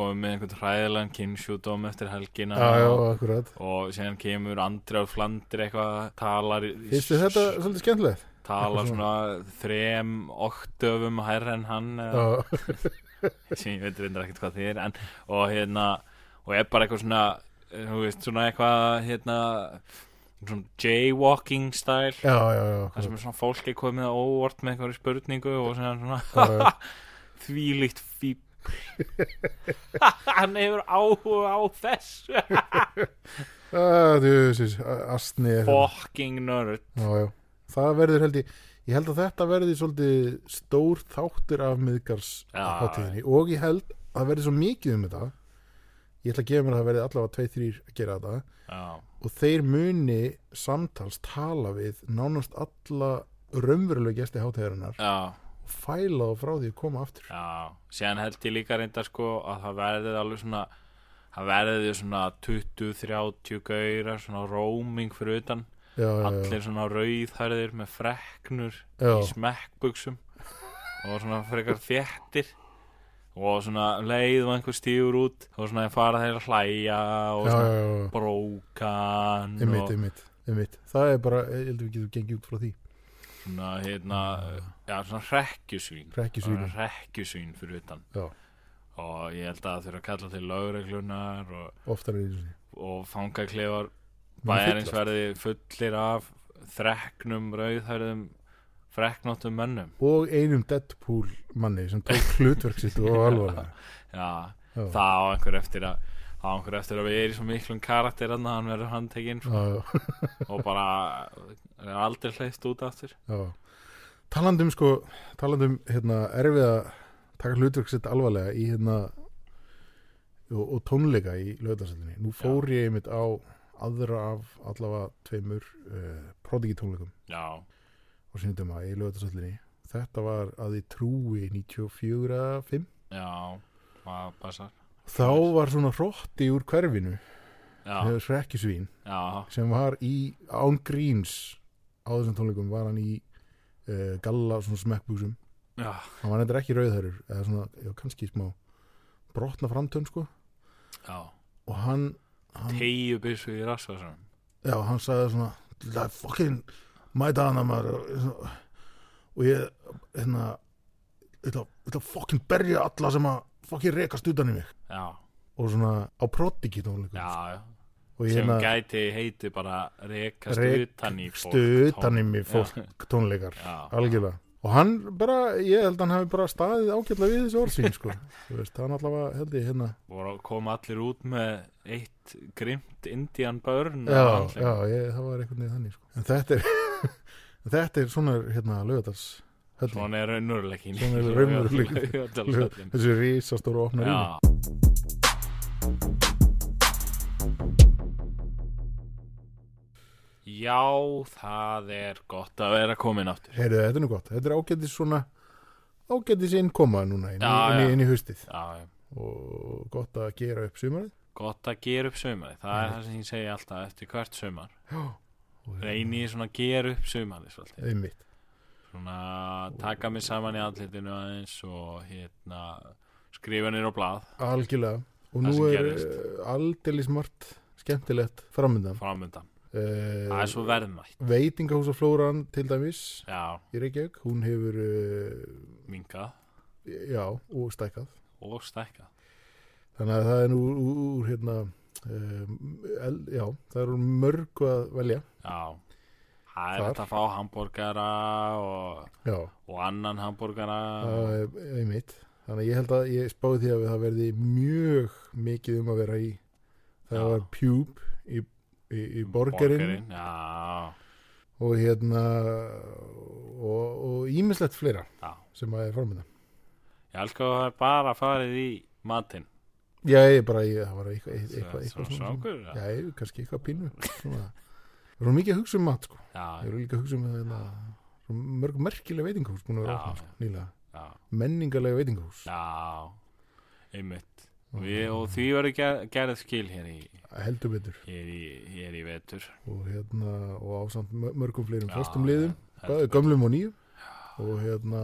Speaker 1: komið með einhvern hræðilegan kynnsjúdóm eftir helgina
Speaker 5: Já, já,
Speaker 1: og,
Speaker 5: akkurat
Speaker 1: og síðan kemur andri á flandri eitthvað, talar í-
Speaker 5: Finnst þið þetta svolítið skemmtilegt?
Speaker 1: talar
Speaker 5: eitthvað
Speaker 1: svona þrem oktöfum hærra en hann eða,
Speaker 5: Já,
Speaker 1: sem ég veit reyndar ekkert hvað þið er en, og hérna og er bara eitthvað svona eh, þú veist svona eitthvað hérna svona jaywalking style
Speaker 5: já, já,
Speaker 1: þar
Speaker 5: já
Speaker 1: sem
Speaker 5: akkurat.
Speaker 1: er svona fólk er komið á óvart með eitthvað spurningu og svona,
Speaker 5: Já, já.
Speaker 1: svona þvílíkt fíp hann hefur áhuga á þessu
Speaker 5: Ah, Djöfisins, astni er þetta.
Speaker 1: fucking nerd
Speaker 5: Já, já Það verður held ég Ég held að þetta verði svolítið stór þáttur af miðgars
Speaker 1: Já.
Speaker 5: hátíðinni og ég held að það verði svo mikið um þetta Ég ætla að gefa mér að það verði allavega tvei, þrýr að gera þetta
Speaker 1: já,
Speaker 5: og þeir muni samtals tala við nánast alla raunverulega gesti hátíðarinnar
Speaker 1: já,
Speaker 5: og fæla þá frá því að koma aftur
Speaker 1: já síðan held ég líka reyndar sko að það verðið alveg svona það verðið svona 20-30 gaurar svona roaming fyrir utan
Speaker 5: Já, já, já.
Speaker 1: allir svona rauðhærðir með freknur
Speaker 5: Eh. Já.
Speaker 1: í smekkbuksum og svona frekar þéttir og svona leið og einhver stífur út og svona fara þeir að hlæja og
Speaker 5: já, já,
Speaker 1: svona
Speaker 5: já, já.
Speaker 1: brókan
Speaker 5: einmitt,
Speaker 1: og
Speaker 5: einmitt, einmitt það er bara, ég heldur við getum gengið út frá því
Speaker 1: svona hérna já, svona hrekkjusvín
Speaker 5: Hrekkjusvín.
Speaker 1: Svona hrekkjusvín fyrir utan
Speaker 5: já,
Speaker 1: og ég held að þeir eru að kalla til lögreglunar og,
Speaker 5: oftar er einu sinni
Speaker 1: og fangaklefar
Speaker 5: Munu
Speaker 1: bæjarins
Speaker 5: fyllast.
Speaker 1: verði fullir af þreknum rauðhærðum freknóttum mönnum
Speaker 5: og einum Deadpool manni sem tók hlutverk sitt og alvarlega
Speaker 1: Já,
Speaker 5: Já.
Speaker 1: það á einhver eftir að á á einhver eftir að við erum í svo miklum karakter þannig að hann verður handtekinn sko,
Speaker 5: já, já,
Speaker 1: og bara er aldrei hleyst út aftur
Speaker 5: já. Talandum sko, talandum hérna erfið að taka hlutverk sitt alvarlega í hérna og, og tónleika í lögðarsettinni. Nú fór ég einmitt á aðra af allavega tveimur uh, prodigi tónleikum
Speaker 1: já,
Speaker 5: og síndum að í lögðarsettinni. Þetta var að ég trúi 94-5.
Speaker 1: já, það passar
Speaker 5: Þá var svona hrótti úr hverfinu,
Speaker 1: já,
Speaker 5: hefur svekkisvín.
Speaker 1: já,
Speaker 5: sem var í án gríns á þessum tónleikum var hann í uh, galla svona smekkbúsum
Speaker 1: já,
Speaker 5: hann var neitt ekki rauðherur eða svona, já, kannski smá brotna framtönn sko
Speaker 1: já
Speaker 5: og hann, hann
Speaker 1: tegju byssu í rassvarsum
Speaker 5: já, hann sagði svona "Það er fucking mæta hann að maður og- svona- og ég hérna þetta, þetta fucking berja alla sem að fucking rekast utan í mig
Speaker 1: já,
Speaker 5: og svona á prodigi tónleikum
Speaker 1: já, já sem
Speaker 5: og ég hérna
Speaker 1: gæti heiti bara rekast utan í fólk
Speaker 5: rekstu utan í mig fólk tónleikar
Speaker 1: já, já,
Speaker 5: algjörlega og hann bara, ég held að hann hafi bara staðið ágætlega við þessi orð sín sko. Þú veist, hann allavega held ég hérna
Speaker 1: voru kom allir út með eitt grimt indian börn
Speaker 5: já, já, ég, það var einhvern veginn þannig sko. en þetta er en þetta er svona hérna lögatals
Speaker 1: svona er raunurleikin
Speaker 5: Svona er raunveruleikinn. þessi risastóru opna rými
Speaker 1: já, já, það er gott að vera komin aftur
Speaker 5: heyrðu, þetta er nú gott, þetta er ágætis svona ágætis innkoma núna inn,
Speaker 1: Já,
Speaker 5: já, inn,
Speaker 1: já.
Speaker 5: í- inn í haustið
Speaker 1: já, já
Speaker 5: og gott að gera upp sumarið
Speaker 1: gott að gera upp sumari það er það sem ég segi alltaf eftir hvert sumar
Speaker 5: og
Speaker 1: reyni ég svona að gera upp sumari svolítið.
Speaker 5: einmitt
Speaker 1: svona taka mig saman í andlitinu aðeins og hérna skrifa nýr á blað
Speaker 5: algjörlega og
Speaker 1: Það
Speaker 5: nú
Speaker 1: sem
Speaker 5: er
Speaker 1: gerðist.
Speaker 5: eh, aldeilis margt skemmtilegt framöndan
Speaker 1: framöndan það
Speaker 5: uh,
Speaker 1: er svo verðmætt
Speaker 5: veitingahúsaflóran til dæmis
Speaker 1: já,
Speaker 5: í Reykjavík, hún hefur uh,
Speaker 1: minkað
Speaker 5: já, og stækkað
Speaker 1: og stækkað
Speaker 5: þannig að það er nú úr, úr hérna um, el, já, það er úr mörgu að velja
Speaker 1: já, það er
Speaker 5: Þar.
Speaker 1: hægt að fá hambúrgara og,
Speaker 5: já,
Speaker 1: og annan hambúrgara
Speaker 5: það er einmitt þannig að ég held að ég spáði því að það verði mjög mikið um að vera í það
Speaker 1: Já.
Speaker 5: var pjúb í, í, í borgarinn
Speaker 1: já,
Speaker 5: og hérna og, og ímislegt fleira
Speaker 1: já,
Speaker 5: sem að er framönda
Speaker 1: ég elsku að það er bara farið í matinn
Speaker 5: já, ég bara, ég, það var eitthvað, eitthvað, eitthvað,
Speaker 1: Svona
Speaker 5: svona-
Speaker 1: svangur, já.
Speaker 5: já, ég- kannski eitthvað pínu svona. Við erum mikið að hugsa um mat sko. Við
Speaker 1: já,
Speaker 5: erum líka að hugsa um það hérna, svo mörg merkilega veitingahús búin að vera
Speaker 1: Já.
Speaker 5: opnað, sko, nýlega.
Speaker 1: já,
Speaker 5: Menningarlega veitingahús.
Speaker 1: já einmitt Við, og því verður ger, gerð skil hér í,
Speaker 5: Heldur betur.
Speaker 1: hér í, hér í vetur
Speaker 5: Og, hérna, og ásamt mör- mörgum fleirum
Speaker 1: Já,
Speaker 5: föstum liðum,
Speaker 1: já,
Speaker 5: bæði gömlum og nýjum. Og hérna,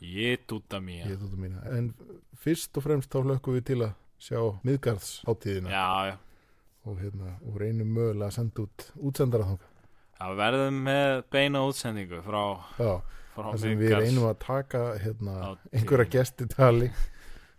Speaker 1: ég dúta mér
Speaker 5: ég þóttu mína. En fyrst og fremst þá hlökkum við til að sjá miðgarðs hátíðina.
Speaker 1: já, já,
Speaker 5: Og, hérna, og reynum mögulega að senda út útsendara þangað.
Speaker 1: það verðum með beina útsendingu frá,
Speaker 5: Já,
Speaker 1: frá
Speaker 5: þar sem við
Speaker 1: Miðgarðs.
Speaker 5: reynum að taka hérna,
Speaker 1: Hátíðina.
Speaker 5: einhverja gesti tali.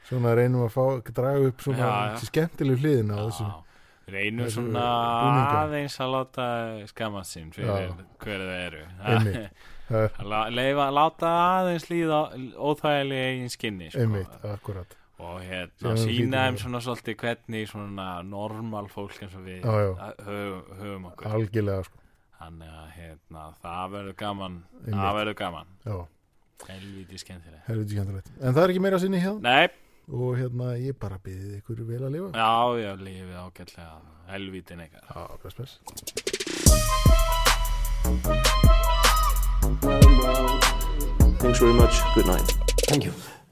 Speaker 5: Svona reynum að fá, draga upp svona
Speaker 1: Já, já.
Speaker 5: þessi skemmtilegu hliðina á þessum
Speaker 1: Já, reynum
Speaker 5: þessum
Speaker 1: svona
Speaker 5: búningum.
Speaker 1: aðeins að láta skamma sín fyrir
Speaker 5: Já.
Speaker 1: hverju þau eru
Speaker 5: Einmitt. Það er-
Speaker 1: Að la- Leifa, láta aðeins líða óþægilega í eigin skinni sko.
Speaker 5: einmitt, akkurat
Speaker 1: og hérna,
Speaker 5: Síðan þú hlýtur
Speaker 1: sína
Speaker 5: að-
Speaker 1: þeim svona svolítið hvernig svona normal fólk eins og við
Speaker 5: Já, já.
Speaker 1: að- höfum, höfum okkur
Speaker 5: algjörlega sko.
Speaker 1: þannig að hérna, það verður gaman
Speaker 5: Einmitt.
Speaker 1: það verður gaman
Speaker 5: Já,
Speaker 1: helvítið skemmtileg
Speaker 5: helviti skemmtilegt en það er ekki meira sinni hérna
Speaker 1: Nei,
Speaker 5: og hérna ég bara byggði ykkur vel að lifa
Speaker 1: já, já, lífið ágætlega helvítin eitthvað
Speaker 5: Já, bless, bless
Speaker 4: Thanks very much. Good night.
Speaker 3: Thank you.